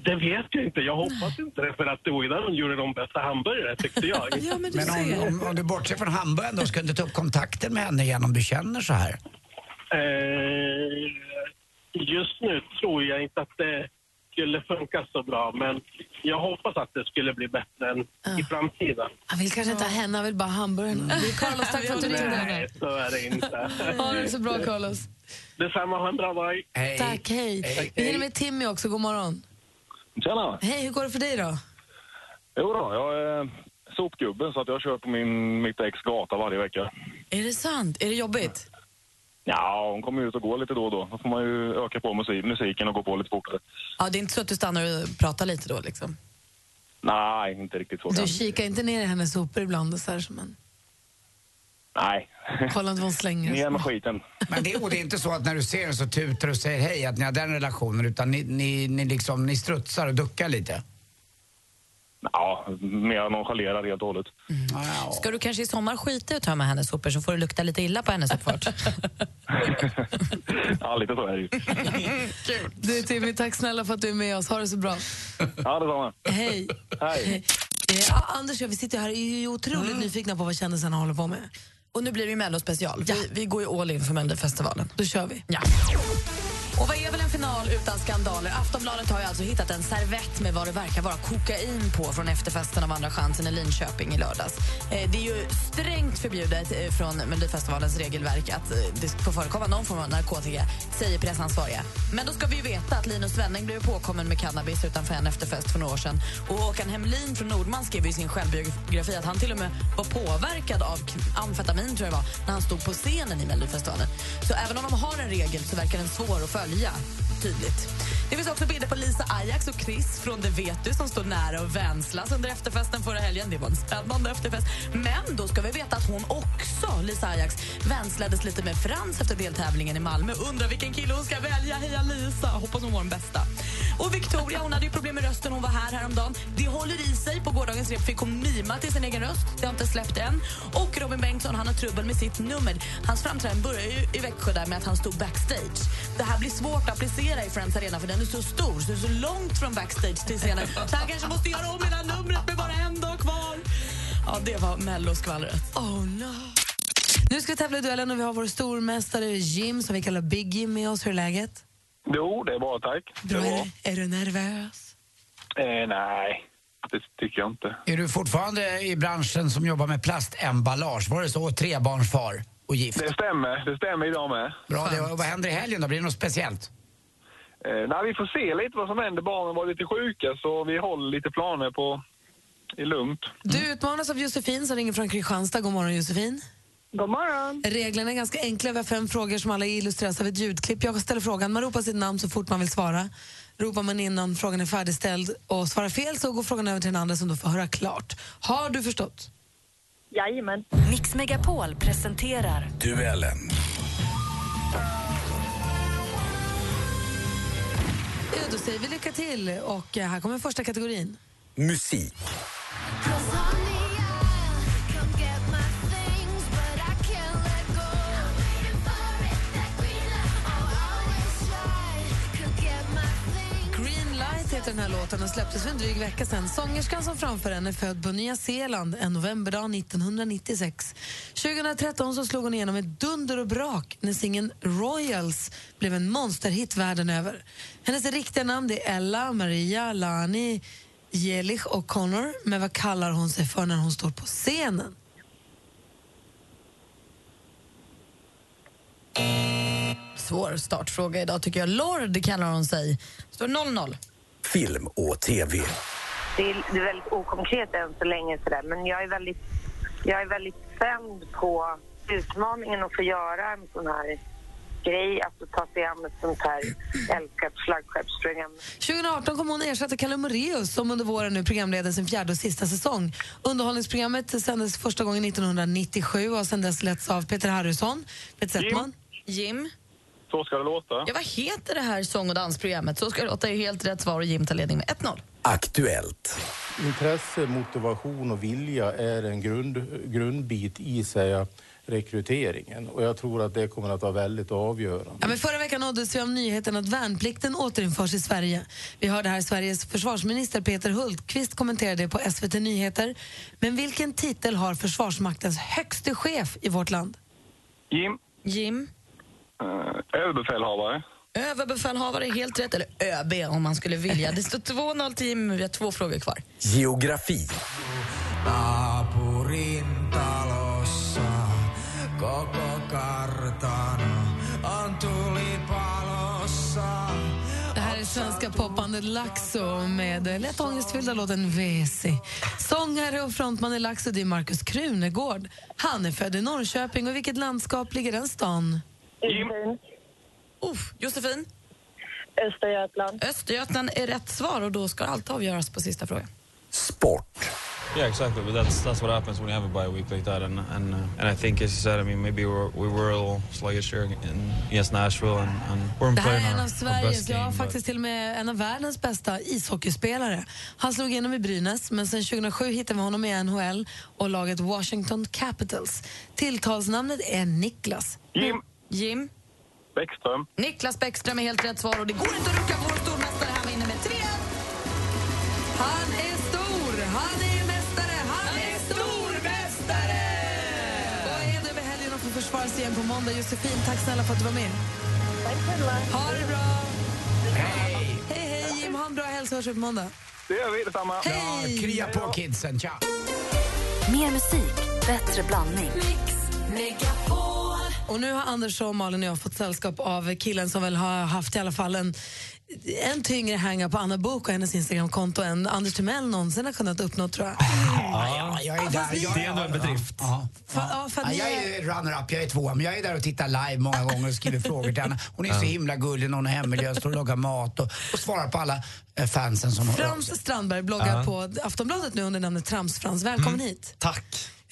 Speaker 12: Det vet jag inte. Jag hoppas inte det, för att det var ju där de gjorde de bästa hamburgarna, tyckte jag.
Speaker 3: Men om, om, om du bortser från hamburgaren då, ska du inte ta upp kontakten med henne igen om du känner så här?
Speaker 12: Eh, just nu tror jag inte att det skulle funka så bra, men jag hoppas att det skulle bli bättre än i framtiden.
Speaker 4: Han vill kanske inte ha henne, han vill bara ha hamburgaren. Du, Carlos, tack för att du ringde.
Speaker 12: Nej, så är det inte.
Speaker 4: Ha det så bra, Carlos.
Speaker 12: Detsamma, ha en bra dag.
Speaker 4: Tack, hej. Vi hinner med Timmy också. God morgon.
Speaker 13: Tjena!
Speaker 4: Hej, hur går det för dig då?
Speaker 13: Jo då, jag är sopgubbe så att jag kör på min, mitt ex gata varje vecka.
Speaker 2: Är det sant? Är det jobbigt?
Speaker 13: Ja, hon kommer ut och går lite då och då. Då får man ju öka på musik, musiken och gå på lite fortare.
Speaker 2: Ja, det är inte så att du stannar och pratar lite då, liksom?
Speaker 13: Nej, inte riktigt så
Speaker 4: Du
Speaker 13: kanske.
Speaker 4: kikar inte ner i hennes sopor ibland och så här som en...
Speaker 13: Nej.
Speaker 4: Kolla inte vad hon slänger.
Speaker 13: Ner med skiten.
Speaker 3: Men det, och det är inte så att när du ser den så tutar du och säger hej att ni har den relationen utan ni, ni, ni, liksom, ni strutsar och duckar lite?
Speaker 13: Ja, mer nonchalerar helt och hållet.
Speaker 2: Ska du kanske i sommar skita i att tömma hennes sopor så får du lukta lite illa på hennes uppfart?
Speaker 13: Ja, lite så är det ju.
Speaker 4: Du Timmy, tack snälla för att du är med oss. Ha det så bra.
Speaker 13: Ja, detsamma.
Speaker 4: Hej.
Speaker 13: Hej.
Speaker 4: Eh, ah, Anders och jag, vi sitter här och är ju otroligt nyfikna på vad kändisarna håller på med.
Speaker 2: Mm. Och nu blir det ju Mellospecial. Vi, vi går ju all in för Melodifestivalen.
Speaker 4: Då kör vi.
Speaker 2: Ja. Och vad är väl en final utan skandaler? Aftonbladet har ju alltså hittat en servett med vad det verkar vara kokain på från efterfesten av Andra chansen i Linköping i lördags. Eh, Det är ju strängt förbjudet eh, från Melodifestivalens regelverk att eh, det får förekomma någon form av narkotika, säger pressansvariga. Men då ska vi ju veta att Linus Svenning blev påkommen med cannabis utanför en efterfest för några år sedan. Och Håkan Hemlin från Nordman skrev ju i sin självbiografi att han till och med var påverkad av k- amfetamin tror jag det var, när han stod på scenen i Melodifestivalen. Så även om de har en regel så verkar den svår att följa. Tydligt. Det finns också bilder på Lisa Ajax och Chris från Det vet du som står nära och vänslas under efterfesten förra helgen. Det var en spännande efterfest. Men då ska vi veta att hon också, Lisa Ajax, vänslades lite med Frans efter deltävlingen i Malmö. Undrar vilken kille hon ska välja. Heja Lisa! Hoppas hon var den bästa. Och Victoria, hon hade ju problem med rösten. Hon var här häromdagen. Det håller i sig. På gårdagens rep fick hon mima till sin egen röst. Det har inte släppt än. Och Robin Bengtsson, han har trubbel med sitt nummer. Hans framträdande börjar ju i Växjö där med att han stod backstage. Det här blir svårt att applicera i Friends Arena för den är så stor, så det är så långt från backstage till scenen. Så han kanske måste göra om hela numret med bara en dag kvar. Ja, det var melloskvallret.
Speaker 4: Oh no. Nu ska vi tävla i duellen och vi har vår stormästare Jim som vi kallar Big Jim med oss. Hur är läget?
Speaker 8: Jo, det är bra, tack.
Speaker 4: Bra. Är, är du nervös?
Speaker 8: Eh, nej, det tycker jag inte.
Speaker 3: Är du fortfarande i branschen som jobbar med plastemballage? Var det så? Trebarnsfar och gift?
Speaker 8: Det stämmer, det stämmer idag med.
Speaker 3: Bra, det, och vad händer i helgen då? Blir det något speciellt?
Speaker 8: Eh, nej, vi får se lite vad som händer. Barnen var lite sjuka, så vi håller lite planer på i lugnt.
Speaker 4: Du utmanas av Josefin som ringer från Kristianstad. God morgon Josefin.
Speaker 6: God morgon.
Speaker 4: Reglerna är ganska enkla. Vi har fem frågor som alla illustreras av ett ljudklipp. Jag ställer frågan, man ropar sitt namn så fort man vill svara. Ropar man innan frågan är färdigställd och svarar fel så går frågan över till den andra som då får höra klart. Har du förstått?
Speaker 11: Jajamän. Mix Megapol presenterar
Speaker 14: Duellen.
Speaker 4: Ja, då säger vi lycka till och eh, här kommer första kategorin.
Speaker 14: Musik.
Speaker 4: Green Light heter den här låten och släpptes för en dryg vecka sedan. Sångerskan som framför den är född på Nya Zeeland en novemberdag 1996. 2013 så slog hon igenom ett dunder och brak när singeln Royals blev en monsterhit världen över. Hennes riktiga namn det är Ella Maria Lani Jelich och Connor, men vad kallar hon sig för när hon står på scenen?
Speaker 2: Svår startfråga idag tycker jag. Lord kallar hon sig. Står 0-0.
Speaker 14: Film och tv.
Speaker 6: Det är, det är väldigt okonkret än så länge sådär, men jag är väldigt, jag är väldigt spänd på utmaningen att få göra en sån här grej, alltså ta sig an ett sånt här älskat flaggskeppsprogram.
Speaker 4: 2018 kommer hon ersätta Kalle Moraeus som under våren nu programleder sin fjärde och sista säsong. Underhållningsprogrammet sändes första gången 1997 och sedan dess letts av Peter Harrison, Peter
Speaker 2: Jim.
Speaker 4: Settman.
Speaker 2: Jim?
Speaker 13: Så ska det låta.
Speaker 2: Ja, vad heter det här sång och dansprogrammet? Så ska det låta. är helt rätt svar och Jim tar ledning med 1-0.
Speaker 14: Aktuellt.
Speaker 15: Intresse, motivation och vilja är en grund, grundbit i säga, rekryteringen. Och jag tror att det kommer att vara väldigt avgörande.
Speaker 4: Ja, men förra veckan nåddes vi av nyheten att värnplikten återinförs i Sverige. Vi hörde här Sveriges försvarsminister Peter Hultqvist kommentera det på SVT Nyheter. Men vilken titel har Försvarsmaktens högste chef i vårt land?
Speaker 13: Jim?
Speaker 2: Jim?
Speaker 13: Eh, överbefälhavare.
Speaker 2: Överbefälhavare är helt rätt, eller ÖB om man skulle vilja. Det står 2-0 till Jim, vi har två frågor kvar.
Speaker 14: Geografi.
Speaker 16: Naapurin talossa koko kartano on tulipalossa.
Speaker 4: Det här är svenska popbandet Laxo med lätt ångestfyllda låten Vesi. Sångare och frontman i Laxo det är Markus Krunegård. Han är född i Norrköping och i vilket landskap ligger den stan?
Speaker 6: Jim?
Speaker 2: Uff, Josefin?
Speaker 6: Östergötland.
Speaker 2: Östergötland är rätt svar och då ska allt avgöras på sista frågan.
Speaker 17: Yeah, exactly. But that's that's what happens when you have a bye week like that, and and uh, and I think, as you said, I mean, maybe we're, we were a little sluggish here in, against Nashville, and, and we're
Speaker 4: Det här
Speaker 17: playing
Speaker 4: är en
Speaker 17: our,
Speaker 4: av
Speaker 17: our best
Speaker 4: Sveriges,
Speaker 17: game.
Speaker 4: ja
Speaker 17: but-
Speaker 4: faktiskt till och med en av världens bästa ishockeyspelare. Han slog igenom i Brynäs, men sen 2007 hittade vi honom i NHL och laget Washington Capitals. Tilltalsnamnet är Niklas.
Speaker 13: Jim?
Speaker 2: Jim?
Speaker 13: Bäckström?
Speaker 2: Niklas Bäckström är helt rätt svar och det går inte att rucka på vår stormästare. Han vinner med 3
Speaker 4: Han är stor, han är mästare, han är stormästare! Vad är det över helgen och får försvara sig igen på måndag. Josefin, tack snälla för att du var med. Tack själva. Ha det bra. Hej! Hej, hej Jim. Ha en bra hälsa och hörs upp på måndag.
Speaker 13: Det gör vi, detsamma.
Speaker 3: Hej! Krya på kidsen, tja!
Speaker 11: Mer musik, bättre blandning.
Speaker 4: Och nu har Anders och Malin och jag fått sällskap av killen som väl har haft i alla fall en, en tyngre hänga på Anna Bok och hennes Instagramkonto än Anders Timell någonsin har kunnat uppnå tror jag.
Speaker 3: Ja, jag är där. Jag, det är ändå en bedrift. Ja, ja.
Speaker 4: ja, för att
Speaker 3: Ja,
Speaker 4: ni
Speaker 3: jag
Speaker 4: är-
Speaker 3: är runner-up, jag är tvåa, men jag är där och tittar live många gånger och skriver frågor till henne. Hon är så himla gullig när hon är hemmiljö, står och lagar mat och, och svarar på alla eh, fansen som hör av sig.
Speaker 4: Frans Strandberg bloggar
Speaker 3: Ja.
Speaker 4: på Aftonbladet nu under namnet Tramsfrans. Välkommen hit.
Speaker 18: Mm. Tack.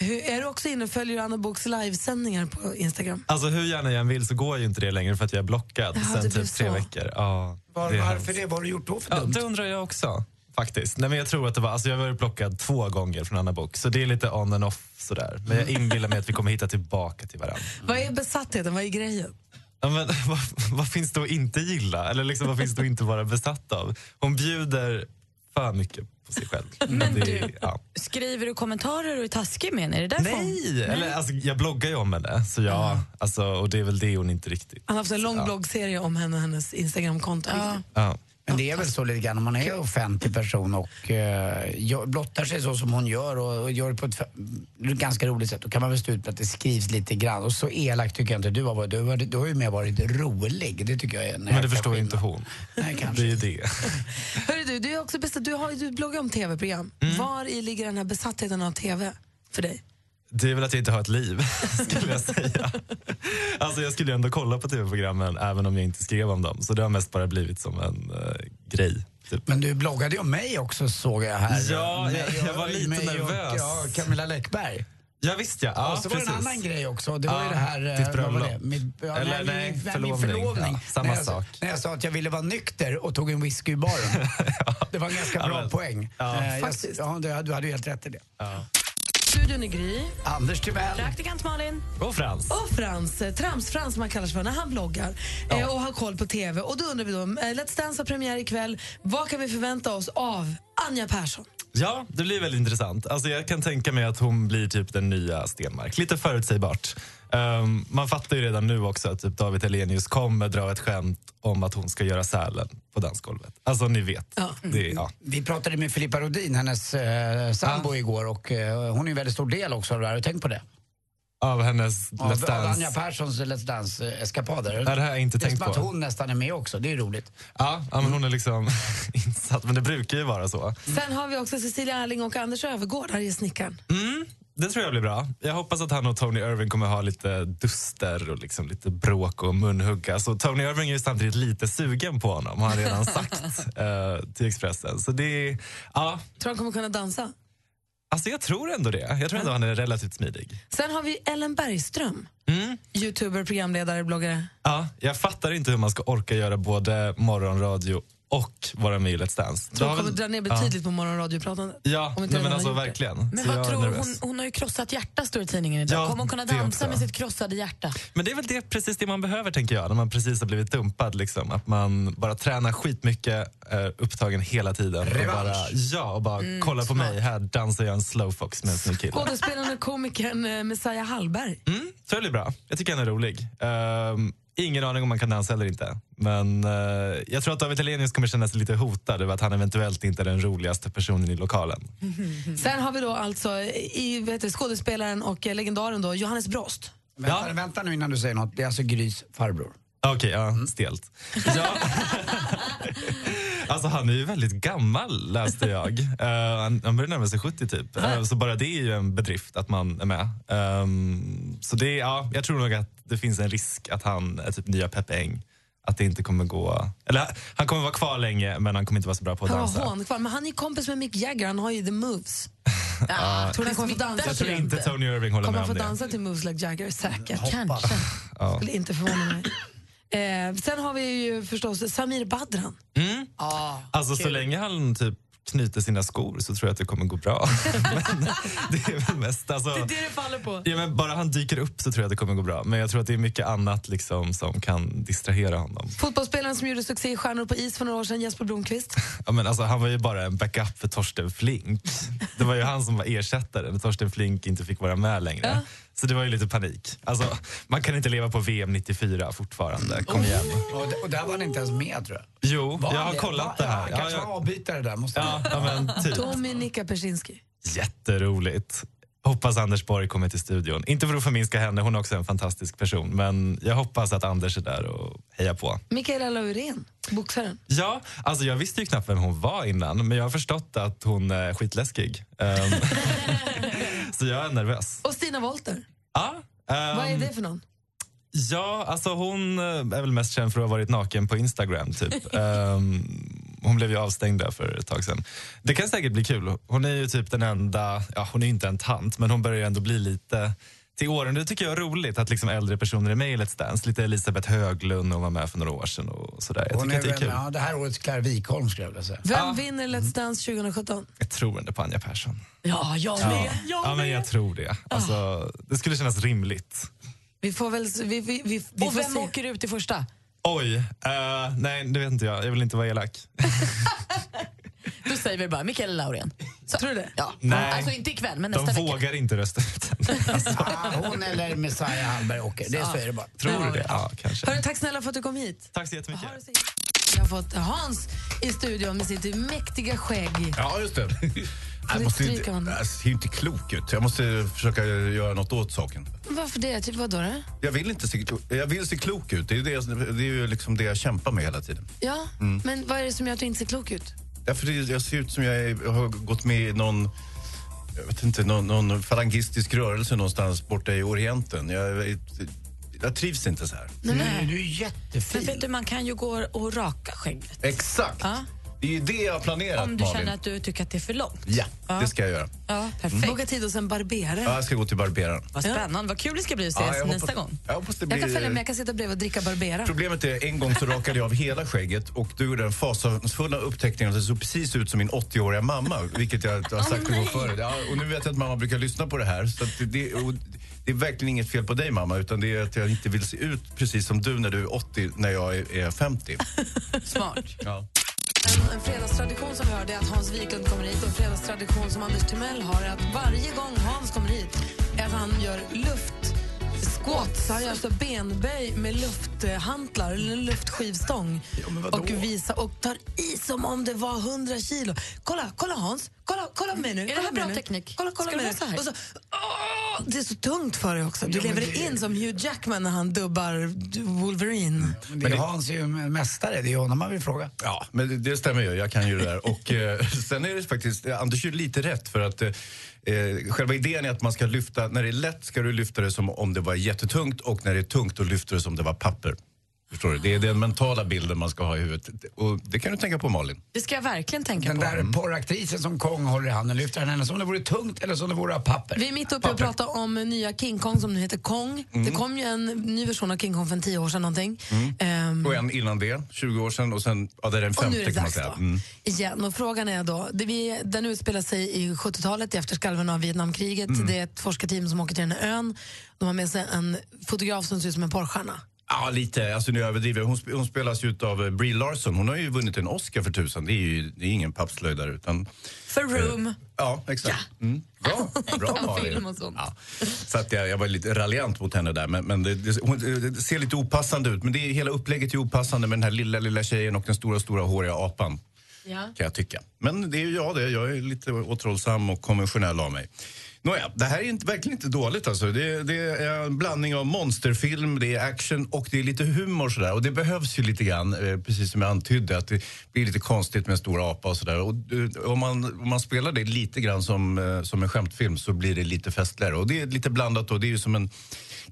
Speaker 4: Hur, är du också inne och följer Anna Boks livesändningar på Instagram?
Speaker 18: Alltså hur gärna jag än vill så går ju inte det längre för att jag är blockad
Speaker 4: Jaha, det
Speaker 18: sen
Speaker 4: blir
Speaker 18: typ tre
Speaker 4: så.
Speaker 18: veckor. Ja,
Speaker 3: Var,
Speaker 18: det är
Speaker 3: varför
Speaker 18: hemskt.
Speaker 3: det? Vad har du gjort då för
Speaker 18: Ja,
Speaker 3: dumt?
Speaker 18: det undrar jag också faktiskt. Nej, men jag tror att det var, alltså jag har varit blockad två gånger från Anna Bok så det är lite on and off sådär. Men jag inbillar mig att vi kommer hitta tillbaka till varandra.
Speaker 4: Vad är besattheten? Vad är grejen?
Speaker 18: Ja, men, vad, vad finns det att inte gilla? Eller liksom, vad finns det att inte vara besatt av? Hon bjuder för mycket på sig själv. Men det, du... ja.
Speaker 2: Skriver du kommentarer och är taskig med henne? Är det därför
Speaker 18: Nej,
Speaker 2: hon-
Speaker 18: Eller, alltså, jag bloggar ju om henne så jag, alltså, och det är väl det hon inte riktigt...
Speaker 4: Han har haft en lång
Speaker 18: Ja.
Speaker 4: bloggserie om henne och hennes Instagramkonto.
Speaker 18: Ja.
Speaker 3: Men det är väl så lite grann om man är offentlig person och eh, gör- blottar sig så som hon gör och, och gör det på ett f- ganska roligt sätt. Då kan man väl stå ut med att det skrivs lite grann. Och så elak tycker jag inte du har varit. Du har, du har ju mer varit rolig. Det tycker jag är en
Speaker 18: Men det
Speaker 3: jäkla
Speaker 18: förstår ju
Speaker 3: skillnad.
Speaker 18: inte hon.
Speaker 3: Nej,
Speaker 18: det är ju det.
Speaker 4: Hörru du, du, är också besatt, du, har, du bloggar om tv-program.
Speaker 18: Mm.
Speaker 4: Var i ligger den här besattheten av tv för dig?
Speaker 18: Det är väl att jag inte har ett liv, skulle jag säga. Alltså jag skulle ju ändå kolla på tv-programmen även om jag inte skrev om dem. Så det har mest bara blivit som en eh, grej. Typ.
Speaker 3: Men du bloggade ju om mig också såg jag här.
Speaker 18: Ja, jag-
Speaker 3: Mig och-
Speaker 18: jag var lite
Speaker 3: mig och,
Speaker 18: nervös.
Speaker 3: Ja, Camilla Läckberg.
Speaker 18: Ja, visst ja. ja
Speaker 3: och så var det en
Speaker 18: precis.
Speaker 3: annan grej också. Det var
Speaker 18: Ja,
Speaker 3: ju det här... eh,
Speaker 18: Ditt
Speaker 3: vad var
Speaker 18: bröllop.
Speaker 3: det? Min, ja, nej,
Speaker 18: Eller nej,
Speaker 3: min, nej, alltså, min
Speaker 18: förlovning.
Speaker 3: förlovning.
Speaker 18: Ja, samma
Speaker 3: när jag,
Speaker 18: sak.
Speaker 3: När jag sa att jag ville vara nykter och tog en whisky i baren. Det var en ganska
Speaker 18: Ja,
Speaker 3: bra
Speaker 18: men-
Speaker 3: poäng.
Speaker 18: Ja,
Speaker 3: Eh, jag,
Speaker 18: faktiskt.
Speaker 3: ja, du, du hade ju helt rätt i det.
Speaker 4: Studion är Gry.
Speaker 3: Anders Timell.
Speaker 4: Praktikant Malin.
Speaker 18: Och Frans.
Speaker 4: Och Frans, eh, Trams-Frans som han kallar sig för när han vloggar eh, och har koll på TV. Och då undrar vi då, eh, Let's Dance har premiär ikväll. Vad kan vi förvänta oss av Anja Persson?
Speaker 18: Ja, det blir väldigt intressant. Alltså jag kan tänka mig att hon blir typ den nya Stenmark. Lite förutsägbart. Ehm, man fattar ju redan nu också att typ David Hellenius kommer dra ett skämt om att hon ska göra sälen på dansgolvet. Alltså ni vet. Det, ja.
Speaker 3: Vi pratade med Filippa Rodin, hennes eh, sambo, igår och eh, hon är en väldigt stor del också av det här. Har du tänkt på det?
Speaker 18: Av hennes
Speaker 3: Av,
Speaker 18: Let's
Speaker 3: av Anja
Speaker 18: Dance.
Speaker 3: Perssons Let's Dance-eskapader.
Speaker 18: Ja, det har jag inte
Speaker 3: det är
Speaker 18: tänkt
Speaker 3: som att
Speaker 18: på.
Speaker 3: hon nästan är med också. Det är roligt.
Speaker 18: Ja, ja, men hon
Speaker 3: Mm.
Speaker 18: är liksom insatt. Men det brukar ju vara så.
Speaker 4: Sen har vi också Cecilia Erling och Anders Övergård här i snickaren.
Speaker 18: Mm, det tror jag blir bra. Jag hoppas att han och Tony Irving kommer ha lite duster och liksom lite bråk och munhugga. Så Tony Irving är ju samtidigt lite sugen på honom, har han redan sagt eh, till Expressen. Så det är, ja,
Speaker 4: Tror han kommer kunna dansa?
Speaker 18: alltså jag tror ändå det. Jag tror ändå han är relativt smidig.
Speaker 4: Sen har vi Ellen Bergström.
Speaker 18: Mm.
Speaker 4: Youtuber, programledare, bloggare.
Speaker 18: Ja, jag fattar inte hur man ska orka göra både morgonradio och vara med i Let's Dance. Det
Speaker 4: Tror
Speaker 18: har
Speaker 4: hon kommer
Speaker 18: väl-
Speaker 4: dra ner
Speaker 18: ja.
Speaker 4: betydligt på morgonradiopratandet.
Speaker 18: Ja,
Speaker 4: Om inte
Speaker 18: nej, men
Speaker 4: redan
Speaker 18: alltså
Speaker 4: har gjort det.
Speaker 18: verkligen.
Speaker 2: Men
Speaker 18: Så jag
Speaker 2: vad
Speaker 18: är
Speaker 2: tror du?
Speaker 18: nervös.
Speaker 2: Hon, hon har ju krossat hjärta, står det i tidningen idag.
Speaker 18: Ja,
Speaker 2: Kommer hon kunna
Speaker 18: det
Speaker 2: dansa
Speaker 18: också.
Speaker 2: med sitt krossade hjärta?
Speaker 18: Men det är väl det, precis det man behöver, tänker jag, när man precis har blivit dumpad. Liksom. Att man bara tränar skitmycket, eh, upptagen hela tiden. Och
Speaker 3: Revansch.
Speaker 18: bara, ja, och bara
Speaker 4: Mm,
Speaker 18: kolla på mig, här dansar jag en slowfox med en snygg kille.
Speaker 4: Skådespelaren och komikern eh, Messiah Hallberg.
Speaker 18: Mm, så det blir bra. Jag tycker han är rolig. Ehm, ingen aning om man kan dansa eller inte. Men eh, jag tror att David Hellenius kommer känna sig lite hotad över att han eventuellt inte är den roligaste personen i lokalen. Mm.
Speaker 4: Sen har vi då alltså i, vet du, skådespelaren och eh, legendaren då, Johannes Brost.
Speaker 3: Vänta, vänta nu innan du säger något. Det är alltså Grys farbror.
Speaker 18: Okej, ja,
Speaker 4: Mm.
Speaker 18: stelt. Ja. alltså han är ju väldigt gammal läste jag. Eh, han, han börjar närma sig 70 typ. Eh, så bara det är ju en bedrift att man är med. Ehm, så det, är- ja, jag tror nog att det finns en risk att han är typ nya Peppe Eng. Att det inte kommer gå... Eller han kommer vara kvar länge men han kommer inte vara så bra på att
Speaker 4: Han var
Speaker 18: dansa.
Speaker 4: hånkvar, men han är ju kompis med Mick Jagger, han har ju the moves. Ah,
Speaker 18: Ja,
Speaker 4: tror ni han kommer få dansa
Speaker 18: jag
Speaker 4: till
Speaker 18: tror
Speaker 4: det?
Speaker 18: inte Tony Irving håller
Speaker 4: Kommer han
Speaker 18: med
Speaker 4: få
Speaker 18: om det.
Speaker 4: dansa till moves like Jagger? Säkert.
Speaker 2: Kanske.
Speaker 18: Ja.
Speaker 4: Skulle inte förvåna mig. Eh, sen har vi ju förstås Samir Badran.
Speaker 18: Mm. Alltså så länge han typ knyter sina skor så tror jag att det kommer gå bra. men det är väl mest alltså...
Speaker 4: Det är det faller på.
Speaker 18: Ja, men bara han dyker upp så tror jag att det kommer gå bra. Men jag tror att det är mycket annat liksom, som kan distrahera honom.
Speaker 4: Fotbollsspelaren som gjorde succé i Stjärnor på is för några år sedan, Jesper Blomqvist.
Speaker 18: Ja, men alltså, han var ju bara en backup för Torsten Flink. Det var ju han som var ersättare när Torsten Flink inte fick vara med längre. Så det var ju lite panik. Alltså, man kan inte leva på VM 94 fortfarande. Kom igen.
Speaker 3: Och, d- och där var han inte ens med tror jag.
Speaker 18: Jo,
Speaker 3: Oh. Var
Speaker 18: Oh. jag
Speaker 3: han
Speaker 18: har
Speaker 3: det?
Speaker 18: kollat
Speaker 3: Va-
Speaker 18: det här.
Speaker 3: Ja, han kanske
Speaker 18: Ja, jag-
Speaker 3: var avbytare där. Måste
Speaker 18: Ja, ja, men typ.
Speaker 4: Dominika Persinski.
Speaker 18: Jätteroligt. Hoppas Anders Borg kommer till studion. Inte för att förminska henne, hon är också en fantastisk person. Men jag hoppas att Anders är där och hejar på.
Speaker 4: Mikaela Laurén, boxaren.
Speaker 18: Ja, alltså jag visste ju knappt vem hon var innan men jag har förstått att hon är skitläskig. Ehm, så jag är nervös.
Speaker 4: Och Stina Wolter.
Speaker 18: Ja, ehm,
Speaker 4: Vad är det för någon?
Speaker 18: Ja, alltså hon eh, är väl mest känd för att ha varit naken på Instagram. typ. Ehm, hon blev ju avstängd där för ett tag sedan. Det kan säkert bli kul. Hon är ju typ den enda, ja hon är ju inte en tant, men hon börjar ju ändå bli lite till åren. Det tycker jag är roligt att liksom äldre personer är med i Let's Dance. Lite Elisabeth Höglund, hon var med för några år sedan och sådär. Jag
Speaker 3: Hon
Speaker 18: tycker
Speaker 3: är
Speaker 18: att det är
Speaker 3: väl,
Speaker 18: kul.
Speaker 3: ja, det här årets Claire Wikholm skulle jag vilja säga.
Speaker 4: Vem vinner Let's Dance 2017?
Speaker 18: Jag tror ändå på Anja Persson.
Speaker 4: Ja, jag
Speaker 18: Mm. Ja, ja men jag tror det. Alltså, det skulle kännas rimligt.
Speaker 4: Vi får väl... s- Vi, vi, vi, vi
Speaker 2: Och
Speaker 4: får
Speaker 2: vem
Speaker 4: se.
Speaker 2: åker ut i första?
Speaker 18: Oj, eh, nej det vet inte jag. Jag vill inte vara elak.
Speaker 2: Då säger vi bara Mikaela Laurén.
Speaker 4: Tror du det?
Speaker 2: Ja.
Speaker 18: Nej.
Speaker 2: Alltså inte ikväll, men nästa
Speaker 18: De
Speaker 2: vecka.
Speaker 18: vågar inte rösta ut henne.
Speaker 3: Ah, hon eller Messiah Hallberg åker. Det, så är det bara.
Speaker 18: Tror du det? Ja, kanske.
Speaker 4: Hörru, tack snälla för att du kom hit.
Speaker 18: Tack så jättemycket.
Speaker 4: Jag har fått Hans i studion med sitt mäktiga skägg.
Speaker 19: Ja, just det. Jag,
Speaker 4: du
Speaker 19: måste
Speaker 4: stryka
Speaker 19: inte,
Speaker 4: honom?
Speaker 19: jag ser ju inte klok ut. Jag måste försöka göra något åt saken.
Speaker 4: Varför det? Typ, vadå? då?
Speaker 19: Jag vill, inte se, jag vill se klok ut. Det är ju, det, det, är ju liksom det jag kämpar med hela tiden.
Speaker 4: Ja,
Speaker 19: Mm.
Speaker 4: men vad är det som gör att du inte ser klok ut?
Speaker 19: Därför det, jag ser ut som jag, är, jag har gått med i någon, jag vet inte, någon, någon falangistisk rörelse någonstans borta i Orienten. Jag, jag trivs inte så här.
Speaker 3: Nej. Du är jättefin.
Speaker 2: Men vet du, man kan ju gå och raka skägget.
Speaker 19: Exakt.
Speaker 2: Ja.
Speaker 19: Det är ju det jag har planerat,
Speaker 2: Om du
Speaker 19: Malin.
Speaker 2: känner att du tycker att det är för långt.
Speaker 19: Ja,
Speaker 2: Ja.
Speaker 19: det ska jag göra.
Speaker 2: Ja,
Speaker 19: perfekt.
Speaker 4: Boka tid hos en barberare.
Speaker 19: Mm. Ja, jag ska gå till barberaren.
Speaker 2: Vad spännande, vad kul det ska bli att ses
Speaker 19: Ja, jag hoppas-
Speaker 2: nästa gång.
Speaker 19: Jag hoppas det blir...
Speaker 4: Jag kan följa med, jag kan sitta bredvid och dricka barberare.
Speaker 19: Problemet är, en gång så rakade jag av hela skägget och du gjorde den fasansfulla upptäckningen att det såg precis ut som min 80-åriga mamma, vilket jag har sagt till
Speaker 2: nej.
Speaker 19: oh, förut. Ja, och nu vet jag att mamma brukar lyssna på det här. Så att det, det, och det är verkligen inget fel på dig mamma, utan det är att jag inte vill se ut precis som du när du är 80, när jag är, är 50.
Speaker 4: Smart.
Speaker 19: Ja.
Speaker 4: En, en fredagstradition som vi har det är att Hans Wiklund kommer hit och en fredagstradition som Anders Timell har är att varje gång Hans kommer hit är att han gör luft squats. Han gör alltså benböj med lufthantlar eller en luftskivstång och, visa, och tar i som om det var 100 kilo. Kolla, kolla Hans, kolla, kolla på mig nu.
Speaker 20: Är det
Speaker 4: kolla
Speaker 20: här
Speaker 4: på mig
Speaker 20: bra
Speaker 4: nu.
Speaker 20: teknik?
Speaker 4: Kolla, kolla
Speaker 20: Ska det
Speaker 4: mig
Speaker 20: vara
Speaker 4: nu.
Speaker 20: så
Speaker 4: Och
Speaker 20: här?
Speaker 4: så, åh, det är så tungt för dig också. Du
Speaker 3: Ja, men
Speaker 4: lever
Speaker 3: det-
Speaker 4: in som Hugh Jackman när han dubbar Wolverine.
Speaker 3: Mm, Men det är Hans är ju en mästare, det är ju honom man vill fråga.
Speaker 19: Ja, men det, det stämmer ju. Jag kan ju det där. Och, eh, sen är det faktiskt, eh, Anders gjorde lite rätt för att eh, eh, själva idén är att man ska lyfta, när det är lätt ska du lyfta det som om det var jättetungt och när det är tungt då lyfter du som om det var papper. Förstår du? Det är den mentala bilden man ska ha i huvudet. Och det kan du tänka på Malin.
Speaker 2: Det ska jag verkligen tänka
Speaker 3: Den
Speaker 2: på.
Speaker 18: Mm.
Speaker 3: där porraktrisen som Kong håller i handen, lyfter han henne som om det vore tungt eller som om det vore av papper?
Speaker 4: Vi är mitt uppe och
Speaker 3: Papper.
Speaker 4: pratar om nya King Kong som nu heter Kong.
Speaker 19: Mm.
Speaker 4: Det kom ju en ny version av King Kong för en tio år sedan någonting.
Speaker 19: Mm.
Speaker 4: Ehm,
Speaker 19: Och en innan det, 20 år sedan och sen, ja det är den
Speaker 4: Och nu är det
Speaker 19: femte kan man
Speaker 4: dags
Speaker 19: säga.
Speaker 4: då.
Speaker 19: Mm.
Speaker 4: Igen, och frågan är då, det vi, den utspelar sig i 70-talet i efterskalven av Vietnamkriget.
Speaker 19: Mm.
Speaker 4: Det är ett forskarteam som åker till den här ön. De har med sig en fotograf som ser ut som en porrstjärna.
Speaker 19: Ja, lite. Alltså nu överdriver jag. Hon, sp- hon spelas ju av eh, Brie Larson. Hon har ju vunnit en Oscar för tusan. Det är ju det är ingen pappslöjdare utan...
Speaker 2: För Room.
Speaker 19: Ja, exakt. Mm. Bra, bra Malin. Ja. Så att jag, jag var lite raljant mot henne där. Men, men det, det, hon, det ser lite opassande ut. Men det är, hela upplägget är opassande med den här lilla, lilla tjejen och den stora, stora håriga apan.
Speaker 4: Ja.
Speaker 19: Kan jag tycka. Men det är ju jag det. Jag är lite återhållsam och konventionell av mig. Nåja, det här är inte, verkligen inte dåligt alltså. Det, det är en blandning av monsterfilm, det är action och det är lite humor sådär. Och det behövs ju lite grann, eh, precis som jag antydde, att det blir lite konstigt med en stor apa och sådär. Och eh, om man, om man spelar det lite grann som, eh, som en skämtfilm så blir det lite festligare. Och det är lite blandat och det är ju som en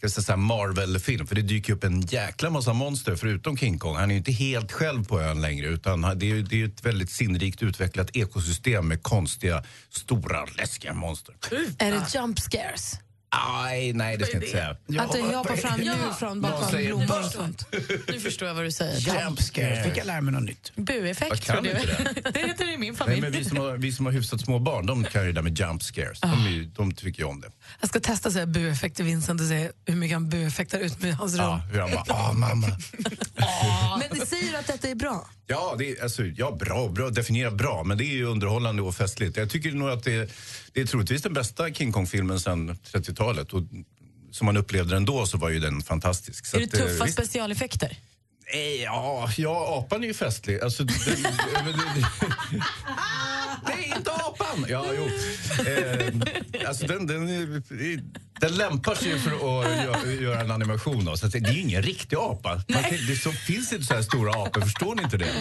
Speaker 19: jag ska säga, Marvel-film. För det dyker upp en jäkla massa monster förutom King Kong. Han är ju inte helt själv på ön längre utan han- det är ju det är ju ett väldigt sinnrikt utvecklat ekosystem med konstiga, stora, läskiga monster.
Speaker 4: Är det jump scares?
Speaker 19: Aj, nej det ska jag inte säga.
Speaker 4: att det hoppar fram djur från
Speaker 19: Någon
Speaker 4: bakom
Speaker 19: säger
Speaker 4: blommor och
Speaker 19: "Bust!"
Speaker 4: sånt?
Speaker 2: Nu förstår jag vad du säger.
Speaker 19: Jump scare. Fick jag
Speaker 3: lära mig något nytt?
Speaker 2: Bueffekt
Speaker 19: Jag kan
Speaker 2: tror du.
Speaker 19: inte
Speaker 2: det heter det i min
Speaker 19: Nej,
Speaker 2: familj.
Speaker 19: men vi, som har, vi som har hyfsat små barn, de kan ju det där med jump scares. De, är ju, de tycker ju om det.
Speaker 4: Jag ska testa att säga bueffekt till Vincent och se hur mycket han bueffektar ut med hans rum.
Speaker 19: Ja, hur han bara, ah mamma.
Speaker 4: Men säger du att detta är bra?
Speaker 19: Ja, det är, alltså, ja bra, bra, definiera bra, men det är ju underhållande och festligt. Jag tycker nog att det, det är troligtvis den bästa King Kong-filmen sedan 30-talet. Och som man upplevde den då så var ju den fantastisk. Så
Speaker 2: Är det
Speaker 19: att, eh,
Speaker 2: tuffa
Speaker 19: visst.
Speaker 2: specialeffekter?
Speaker 19: Eh, Ja, ja, apan är ju festlig. Alltså, det, det, det, Nej, inte apan! Ja, jo. Eh, alltså, den, den, är- den lämpar sig ju för att göra, göra en animation. Då. Så att, det är ju ingen riktig apa. Man, kan- det så, finns inte så här stora apor, förstår ni inte det?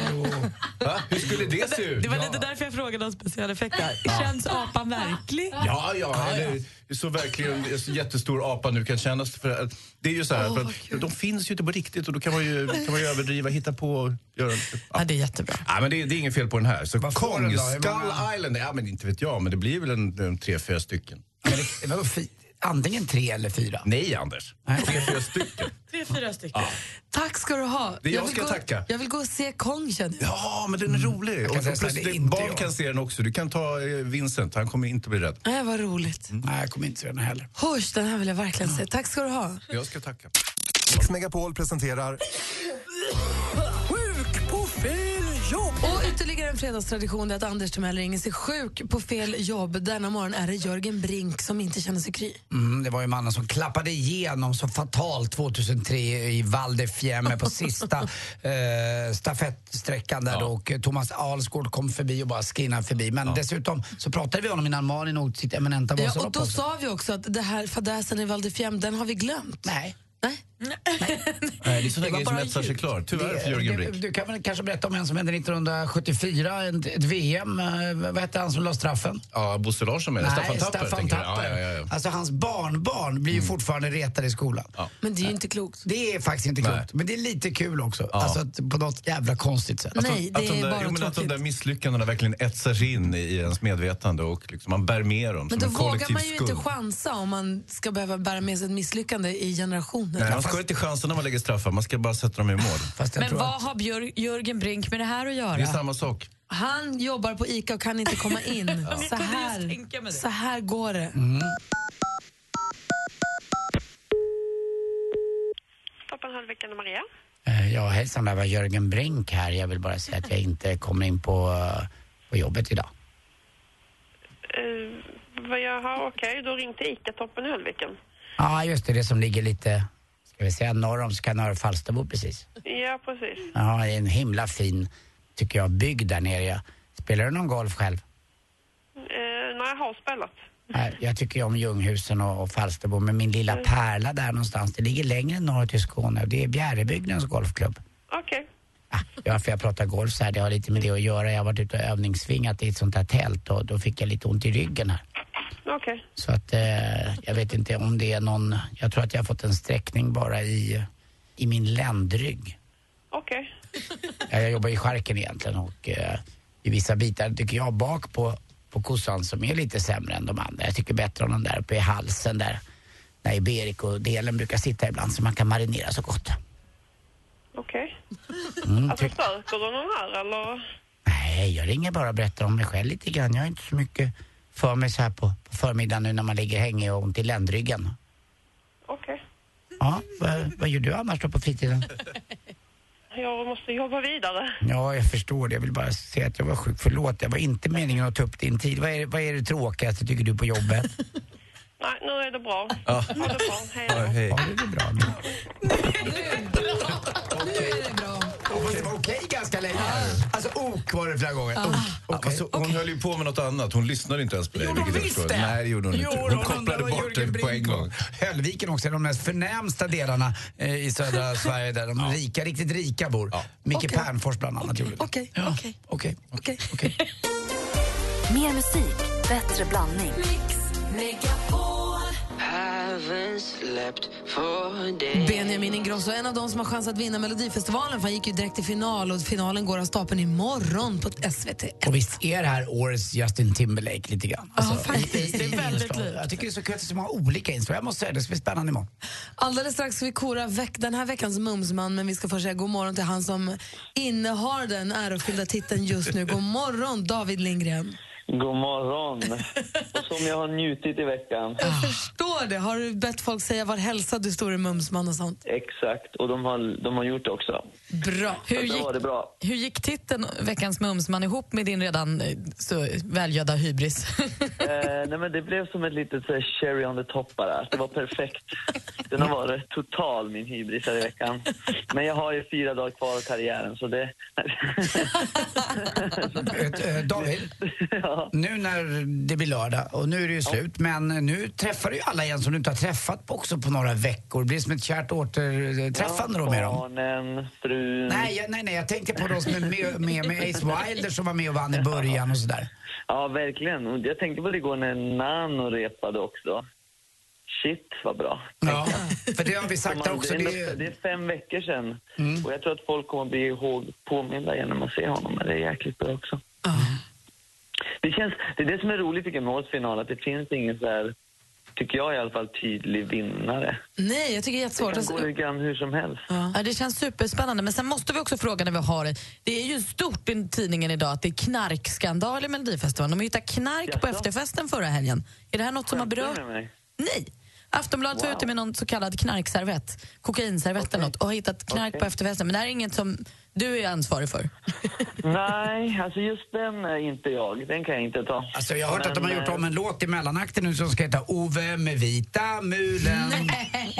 Speaker 19: Va? Hur skulle det se ut?
Speaker 2: Det var
Speaker 19: Ja.
Speaker 2: lite därför jag frågade om specialeffekter.
Speaker 19: Ja.
Speaker 2: Känns apan verklig?
Speaker 19: Ja, ja. Eller, så verkligen en så jättestor apa nu kan kännas. För, att- det är ju så här, för att, de finns ju inte på riktigt och då kan man ju, kan man ju överdriva, hitta på och göra... Ja.
Speaker 2: det är jättebra.
Speaker 19: Ja, men det, är- det är inget fel på den här. Så
Speaker 3: får den
Speaker 19: Kong,
Speaker 3: då? Hur
Speaker 19: Skull
Speaker 3: många-
Speaker 19: Island, ja men inte vet jag, men det blir väl en, en tre, fyra stycken.
Speaker 3: Det var fi- Antingen tre eller fyra.
Speaker 19: Nej, Anders. Tre, fyra stycken.
Speaker 2: Tre, fyra stycken.
Speaker 4: Tack ska du ha.
Speaker 19: Det är jag
Speaker 4: vill
Speaker 19: ska
Speaker 4: gå,
Speaker 19: tacka.
Speaker 4: Jag vill gå och se Kong känner jag.
Speaker 19: Ja, men den är rolig.
Speaker 3: Mm. Jag
Speaker 19: Och
Speaker 3: kan säga
Speaker 19: plus,
Speaker 3: så här, det är
Speaker 19: det-
Speaker 3: inte
Speaker 19: barn
Speaker 3: jag.
Speaker 19: kan se den också. Du kan ta eh, Vincent, han kommer inte bli rädd.
Speaker 4: Nej, vad roligt.
Speaker 3: Mm. Nej, jag kommer inte se den heller.
Speaker 4: Hörs, den här vill jag verkligen se. Tack ska du ha.
Speaker 19: Jag ska tacka.
Speaker 10: Mix Megapol presenterar
Speaker 7: Sjuk på fel jobb!
Speaker 4: Och ytterligare en fredagstradition är att Anders Timell ringer sig sjuk på fel jobb. Denna morgon är det Jörgen Brink som inte känner sig kry.
Speaker 3: Mm, det var ju mannen som klappade igenom så fatalt 2003 i Val de Fiemme på sista eh, stafettsträckan där då, och eh, Thomas Alsgaard kom förbi och bara skinnade förbi. Men dessutom så pratade vi om honom innan Malin åt sitt eminenta
Speaker 4: Ja, och
Speaker 3: Vasalopp
Speaker 4: då
Speaker 3: också.
Speaker 4: sa vi också att det här fadäsen i Val di Fiemme, den har vi glömt.
Speaker 3: Nej.
Speaker 19: Nej, det är sådana
Speaker 3: var
Speaker 19: grejer som
Speaker 3: bara
Speaker 19: etsar sig
Speaker 3: ljud.
Speaker 19: klar. Tyvärr
Speaker 3: Det-
Speaker 19: för Jörgen Brink.
Speaker 3: Du, du kan väl kanske berätta om en som hände 1974, ett, ett VM. eh, Vad hette han som la straffen?
Speaker 19: Ja, Bosse Larsson menar
Speaker 3: Nej,
Speaker 19: Staffan Tapper.
Speaker 3: Staffan
Speaker 19: tänker jag.
Speaker 3: Tapper.
Speaker 19: Ja, Mm. ja, ja, ja.
Speaker 3: Alltså hans barnbarn blir ju fortfarande retade i skolan.
Speaker 4: Men det är ju inte klokt.
Speaker 3: Det är faktiskt inte
Speaker 19: Nej.
Speaker 3: klokt. Men det är lite kul också.
Speaker 19: Ja.
Speaker 3: Alltså att- på något jävla konstigt sätt.
Speaker 19: Att de- Alltså, att de där, jo, men Att de där misslyckandena verkligen etsar sig in i ens medvetande och liksom man bär med dem
Speaker 4: Men
Speaker 19: som
Speaker 4: då
Speaker 19: en
Speaker 4: vågar
Speaker 19: kollektiv
Speaker 4: man ju
Speaker 19: skuld.
Speaker 4: inte chansa om man ska behöva bära med sig ett misslyckande i generationer.
Speaker 19: Nej, man ska inte chansa när man lägger straffar, man ska bara sätta dem i mål.
Speaker 2: Men vad har Björ- Jörgen Brink med det här att
Speaker 19: Det är
Speaker 2: göra?
Speaker 19: samma sak.
Speaker 4: Han jobbar på ICA och kan inte komma in.
Speaker 2: Ja.
Speaker 4: så,
Speaker 2: Jag kunde just tänka
Speaker 4: här, så här går det.
Speaker 3: Mm.
Speaker 20: Toppen Höllviken och Maria.
Speaker 3: Eh, Ja, hejsan, det här var Jörgen Brink här. Jag vill bara säga att jag inte kommer in på, eh, på jobbet idag.
Speaker 20: Uh, vad jag har, okej, då ringde ICA Toppen Höllviken.
Speaker 3: Ja, just det, det som ligger lite, ska vi säga norr om Skanör Falsterbo precis.
Speaker 20: Ja, precis.
Speaker 3: Jag har en himla fin, tycker jag, bygd där nere. Jag- Spelar du någon golf själv?
Speaker 20: Uh, när jag har spelat.
Speaker 3: Nej, Jag tycker ju om Ljunghusen och, och Falsterbo, men min lilla pärla där någonstans, det ligger längre norrut i Skåne och det är Bjärebygdens golfklubb.
Speaker 20: Okej.
Speaker 3: Ja, för jag pratar golf så här, det har lite med det att göra. Jag har varit ute och övningssvingat i ett sånt här tält och då fick jag lite ont i ryggen här.
Speaker 20: Okej.
Speaker 3: Så att eh, jag vet inte om det är någon, jag tror att jag har fått en sträckning bara i, i min ländrygg.
Speaker 20: Okej.
Speaker 3: Ja, jag jobbar i skärken egentligen och eh, i vissa bitar tycker jag bak på, på kossan som är lite sämre än de andra. Jag tycker bättre om den där uppe i halsen där, där Iberico-delen brukar sitta ibland så man kan marinera så gott.
Speaker 20: Okej.
Speaker 3: Mm,
Speaker 20: Alltså
Speaker 3: ty-
Speaker 20: söker du någon här eller?
Speaker 3: Nej, jag ringer bara och berättar om mig själv lite grann. Jag har inte så mycket för mig så här på, på förmiddagen nu när man ligger hängig och ont i ländryggen.
Speaker 20: Okej.
Speaker 3: Ja, vad, vad gör du annars då på fritiden?
Speaker 20: Jag måste jobba vidare.
Speaker 3: Ja, jag förstår det. Jag vill bara säga att jag var sjuk. Förlåt, jag var inte meningen att ta upp din tid. Vad är, vad är det tråkigaste tycker du på jobbet?
Speaker 20: Nej, nu är det bra.
Speaker 3: Ja.
Speaker 20: Ha det bra. Hej då.
Speaker 3: hej. Ja, det är bra. Nu
Speaker 4: är det bra.
Speaker 3: Det var okej ganska länge. Alltså ok var det flera gånger.
Speaker 19: Ja. Alltså, hon höll ju på med något annat. Hon lyssnade inte ens på dig.
Speaker 3: Jo, de
Speaker 19: vilket jag
Speaker 3: visste.
Speaker 19: förstår. Nej, det gjorde hon
Speaker 3: Jo,
Speaker 19: inte.
Speaker 3: de
Speaker 19: Hon kopplade
Speaker 3: undrade vad
Speaker 19: bort det
Speaker 3: Jörgen
Speaker 19: på en
Speaker 3: Brink var.
Speaker 19: gång.
Speaker 3: Höllviken också är de mest förnämsta delarna eh, i södra Sverige där de rika, riktigt rika bor. Micke Pernfors bland annat gjorde det.
Speaker 4: Okej, okej.
Speaker 3: Okej.
Speaker 4: Okej.
Speaker 11: Mer musik, bättre blandning.
Speaker 4: Benjamin Ingrosso, en av de som har chans att vinna Melodifestivalen för han gick ju direkt till final och finalen går av stapeln imorgon på SVT.
Speaker 3: Och visst är det här årets Justin Timberlake lite grann? Alltså, ja, faktiskt.
Speaker 4: Det är väldigt likt.
Speaker 3: Jag tycker det är så kul att det är så många olika inslag. Jag måste säga det, det ska bli spännande imorgon.
Speaker 4: Alldeles strax ska vi kora veck den här veckans mumsman men vi ska först säga god morgon till han som innehar den ärofyllda titeln just nu. God morgon David Lindgren.
Speaker 21: God morgon! Och som jag har njutit i veckan.
Speaker 4: Jag
Speaker 2: Ah.
Speaker 4: förstår det. Har du bett folk säga var hälsa du står i mumsman och sånt?
Speaker 21: Exakt, och de har, de har gjort det också.
Speaker 2: Bra. Hur
Speaker 21: Så
Speaker 2: gick,
Speaker 21: då var det bra.
Speaker 2: hur gick titeln Veckans mumsman ihop med din redan eh, så välgödda hybris?
Speaker 21: Eh, nej men det blev som ett litet så här, cherry on the top bara. Det var perfekt. Den har varit total, min hybris här i veckan. Men jag har ju fyra dagar kvar av karriären, så det...
Speaker 3: Eh, David, nu när det blir lördag och nu är det ju slut, men nu träffar du ju alla igen som du inte har träffat på också på några veckor. Det blir som ett kärt återträffande då med dem.
Speaker 21: Barnen, frun...
Speaker 3: Nej, jag- nej, nej, jag tänkte på de som är med, med, med Ace Wilder som var med och vann i början och sådär.
Speaker 21: Ja, verkligen. Och Jag tänkte på det igår när Nano repade också. Shit, vad bra.
Speaker 3: Ja, för det har vi sagt
Speaker 21: Så man-
Speaker 3: också,
Speaker 21: Det är,
Speaker 3: det
Speaker 21: ändå-
Speaker 3: är- Mm.
Speaker 21: det är fem veckor sedan. Och jag tror att folk kommer bli ihåg, påminda genom att se honom. Men det är jäkligt bra också. Det, känns, det är det som är roligt tycker jag, med årets final, att det finns ingen så här, tycker jag i alla fall, tydlig vinnare.
Speaker 4: Nej, jag tycker det är jättesvårt.
Speaker 21: Det kan gå
Speaker 4: Alltså,
Speaker 21: lite grann hur som helst.
Speaker 2: Ja, det känns superspännande. Men sen måste vi också fråga när vi har det. Det är ju stort i tidningen idag att det är knarkskandal i Melodifestivalen. De hittade knark på efterfesten förra helgen. Är det här något som har berört?
Speaker 21: Skämtar du med mig?
Speaker 2: Nej! Aftonbladet var
Speaker 21: Wow.
Speaker 2: ute med någon så kallad knarkservett, kokainservett eller något, och har hittat knark på efterfesten. Men det här är inget som du är ansvarig för.
Speaker 21: Nej, alltså just den är inte jag. Den kan jag inte ta.
Speaker 3: Alltså jag har hört att de har
Speaker 21: eh,
Speaker 3: gjort om en låt i mellanakten nu som ska heta Ove med vita mulen. Nej,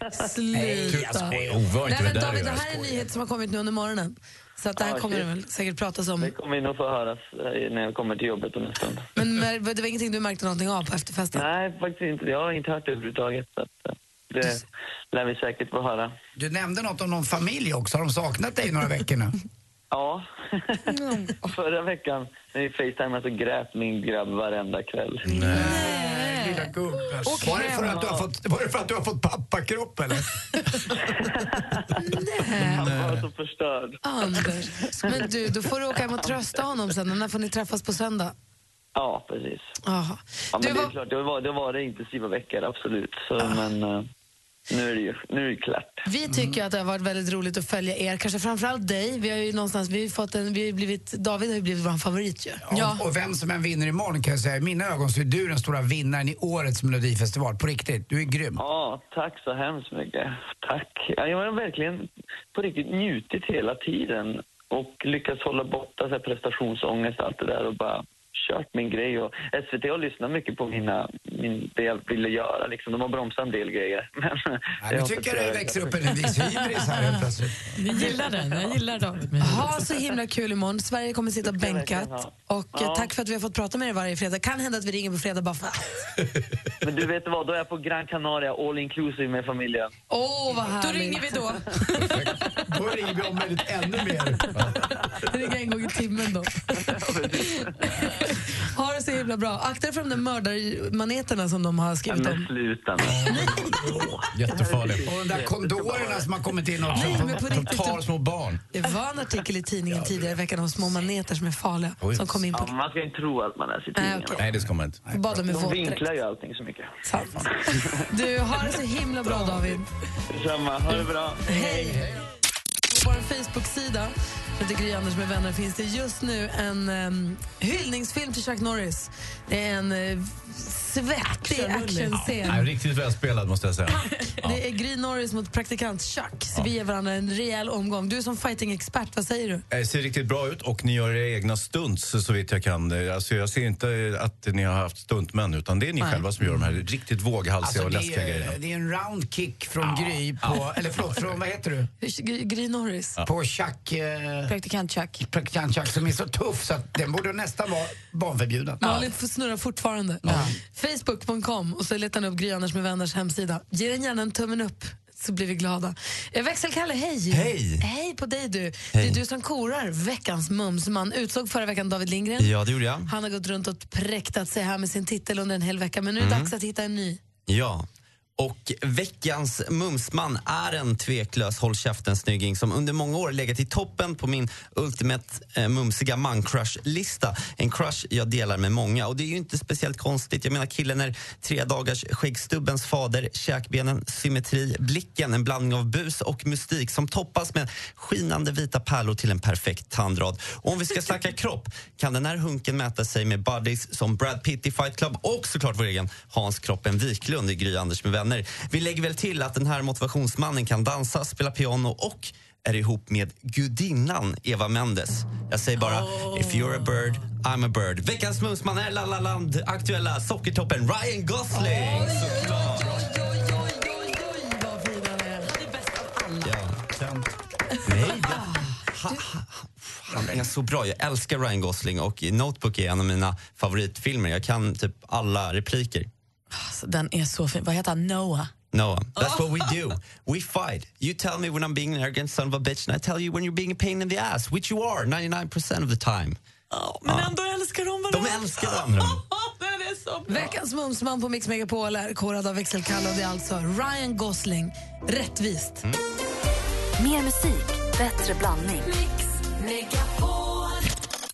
Speaker 3: jag
Speaker 4: Sluta.
Speaker 3: skojar. Ove har
Speaker 4: Nej,
Speaker 3: inte
Speaker 4: men
Speaker 3: det där
Speaker 4: David,
Speaker 3: att
Speaker 4: det
Speaker 3: göra.
Speaker 4: här är en nyhet som har kommit nu under morgonen. Så att det här
Speaker 21: Ja,
Speaker 4: kommer det
Speaker 21: shit.
Speaker 4: väl säkert pratas om.
Speaker 21: Det kommer vi nog få höras eh, när jag kommer till jobbet om en stund.
Speaker 4: Men mer- det var ingenting du märkte någonting av på efterfesten?
Speaker 21: Nej, faktiskt inte. Jag har inte hört det överhuvudtaget. Så att, eh, det lär vi säkert få höra.
Speaker 3: Du nämnde något om någon familj också. Har de saknat dig i några veckor nu?
Speaker 21: Ja. Förra veckan när vi facetimade så grät min grabb varenda kväll.
Speaker 4: Eh,
Speaker 3: Nej, lilla Anders.
Speaker 2: Åk
Speaker 3: var, det för
Speaker 2: hem.
Speaker 3: att du har fått, var det för att du har fått pappakropp eller?
Speaker 21: Han var så Alltså, förstörd.
Speaker 4: Anders. Men du, då får du åka hem och trösta honom sen. När får ni träffas på söndag?
Speaker 21: Ja, precis.
Speaker 4: Jaha.
Speaker 21: Ja, men det är klart, det var, det var det intensiva veckor, absolut. Så, Men eh, nu är det ju nu är det klart.
Speaker 4: Vi
Speaker 2: Mm.
Speaker 4: tycker ju att det har varit väldigt roligt att följa er, kanske framförallt dig. Vi har ju någonstans, vi har ju fått en, vi har ju blivit, David har ju blivit vår favorit ju.
Speaker 3: Ja. Och vem som än vinner imorgon kan jag säga, i mina ögon så är du den stora vinnaren i årets melodifestival. På riktigt, du är grym.
Speaker 21: Ja, tack så hemskt mycket. Tack. Ja, Jag har verkligen på riktigt njutit hela tiden och lyckats hålla borta så här prestationsångest och allt det där och bara kört min grej. Och SVT har lyssnat mycket på mina, min, det jag ville göra. Liksom. De har bromsat en del grejer. Men
Speaker 3: Ja, nu tycker jag det växer upp en viss hybris här helt plötsligt.
Speaker 2: Ni gillar den, jag gillar David.
Speaker 4: Ha så himla kul imorgon. Sverige kommer sitta
Speaker 2: Det ska jag verkligen
Speaker 4: bänkat.
Speaker 2: ha.
Speaker 4: Och eh,
Speaker 21: Ja.
Speaker 4: tack för att vi har fått prata med er varje fredag. Kan hända att vi ringer på fredag bara för att.
Speaker 21: Men du vet vad, då är jag på Gran Canaria all inclusive med familjen.
Speaker 4: Åh, vad härligt.
Speaker 2: Då ringer vi då.
Speaker 3: Då ringer vi om möjligt ännu mer.
Speaker 4: Ringa en gång i timmen då. ha det så himla bra. Akta dig för de där mördarmaneterna som de har
Speaker 21: Ja,
Speaker 4: skrivit om.
Speaker 21: Men sluta nu.
Speaker 3: Jättefarlig. Och de där kondorerna som har kommit in också.
Speaker 4: Nej, men på
Speaker 3: Som
Speaker 4: riktigt,
Speaker 3: tar små barn.
Speaker 4: Det var en artikel i tidningen tidigare i veckan om små maneter som är farliga.
Speaker 21: Oj.
Speaker 4: Som kom in på
Speaker 21: Ja, man ska inte tro att man läser
Speaker 4: Nej,
Speaker 21: tidningarna.
Speaker 4: okej.
Speaker 21: Nej,
Speaker 19: det ska man inte.
Speaker 4: Och bad dem i
Speaker 21: De
Speaker 4: våtdräkt.
Speaker 21: vinklar ju allting så mycket.
Speaker 4: Sant. Du, har det så himla bra David.
Speaker 21: Detsamma, ha det bra.
Speaker 4: Hej! På vår Facebook-sida, som heter Gry Anders med vänner, finns det just nu en em, hyllningsfilm till Chuck Norris. Det är en eh, svettig
Speaker 19: Ja,
Speaker 4: actionscen.
Speaker 19: riktigt välspelad måste jag säga.
Speaker 4: Det är Gry Norris mot praktikant Chuck, så vi ger varandra en rejäl omgång. Du som fighting-expert, vad säger du?
Speaker 19: Det Eh, ser riktigt bra ut och ni gör era egna stunts så vitt jag kan. Eh, Alltså jag ser inte att ni har haft stuntmän utan det är ni
Speaker 3: Nej.
Speaker 19: själva som gör de här riktigt våghalsiga
Speaker 3: Alltså,
Speaker 19: och
Speaker 3: det,
Speaker 19: läskiga grejerna.
Speaker 3: är, det är en round kick från Gry på, eller förlåt, från vad heter du?
Speaker 4: Gry, Gry Norris.
Speaker 3: På Chuck, eh,
Speaker 2: Praktikant Chuck.
Speaker 3: praktikant Chuck som är så tuff så att den borde nästan vara barnförbjuden.
Speaker 4: Malin får snurra fortfarande. Facebook.com och så letar ni upp Gry Anders med vänners hemsida. Ge den gärna en tummen upp så blir vi glada. Eh, Växelkalle, hej!
Speaker 22: Hej.
Speaker 4: Hej på dig du. Det
Speaker 22: Hej.
Speaker 4: är du som korar veckans mumsman. Utsåg förra veckan David Lindgren.
Speaker 22: Ja, det gjorde jag.
Speaker 4: Han har gått runt och präktat sig här med sin titel under en hel vecka men nu är det
Speaker 22: Mm.
Speaker 4: dags att hitta en ny.
Speaker 22: Ja. Och veckans mumsman är en tveklös håll käften-snygging som under många år legat i toppen på min ultimate eh, mumsiga man-crush-lista. En crush jag delar med många. Och det är ju inte speciellt konstigt. Jag menar killen är tre dagars skäggstubbens fader, käkbenen, symmetri, blicken, en blandning av bus och mystik som toppas med skinande vita pärlor till en perfekt tandrad. Och om vi ska snacka kropp kan den här hunken mäta sig med buddies som Brad Pitt i Fight Club och såklart vår egen Hans Kroppen Wiklund i Gry Anders med vänner. Vi lägger väl till att den här motivationsmannen kan dansa, spela piano och är ihop med gudinnan Eva Mendes. Jag säger bara, if you're a bird, I'm a bird. Veckans mumsman är La La Land, aktuella Sockertoppen Ryan Gosling. såklart. Nej, Han, han är så bra. Jag älskar Ryan Gosling och Notebook är en av mina favoritfilmer. Jag kan typ alla repliker.
Speaker 2: Alltså, den är så fin. Vad heter han? Noah?
Speaker 22: Noah, that's what we do. We fight. You tell me when I'm being an arrogant son of a bitch and I tell you when you're being a pain in the ass, which you are 99% of the time.
Speaker 2: Men
Speaker 22: Ja.
Speaker 2: ändå älskar de
Speaker 22: De älskar varandra.
Speaker 2: Den är så bra.
Speaker 4: Veckans mumsman på Mix Megapol är korad av Växelkalle och det är alltså Ryan Gosling. Rättvist.
Speaker 22: Mm.
Speaker 11: Mer musik, bättre blandning. Mix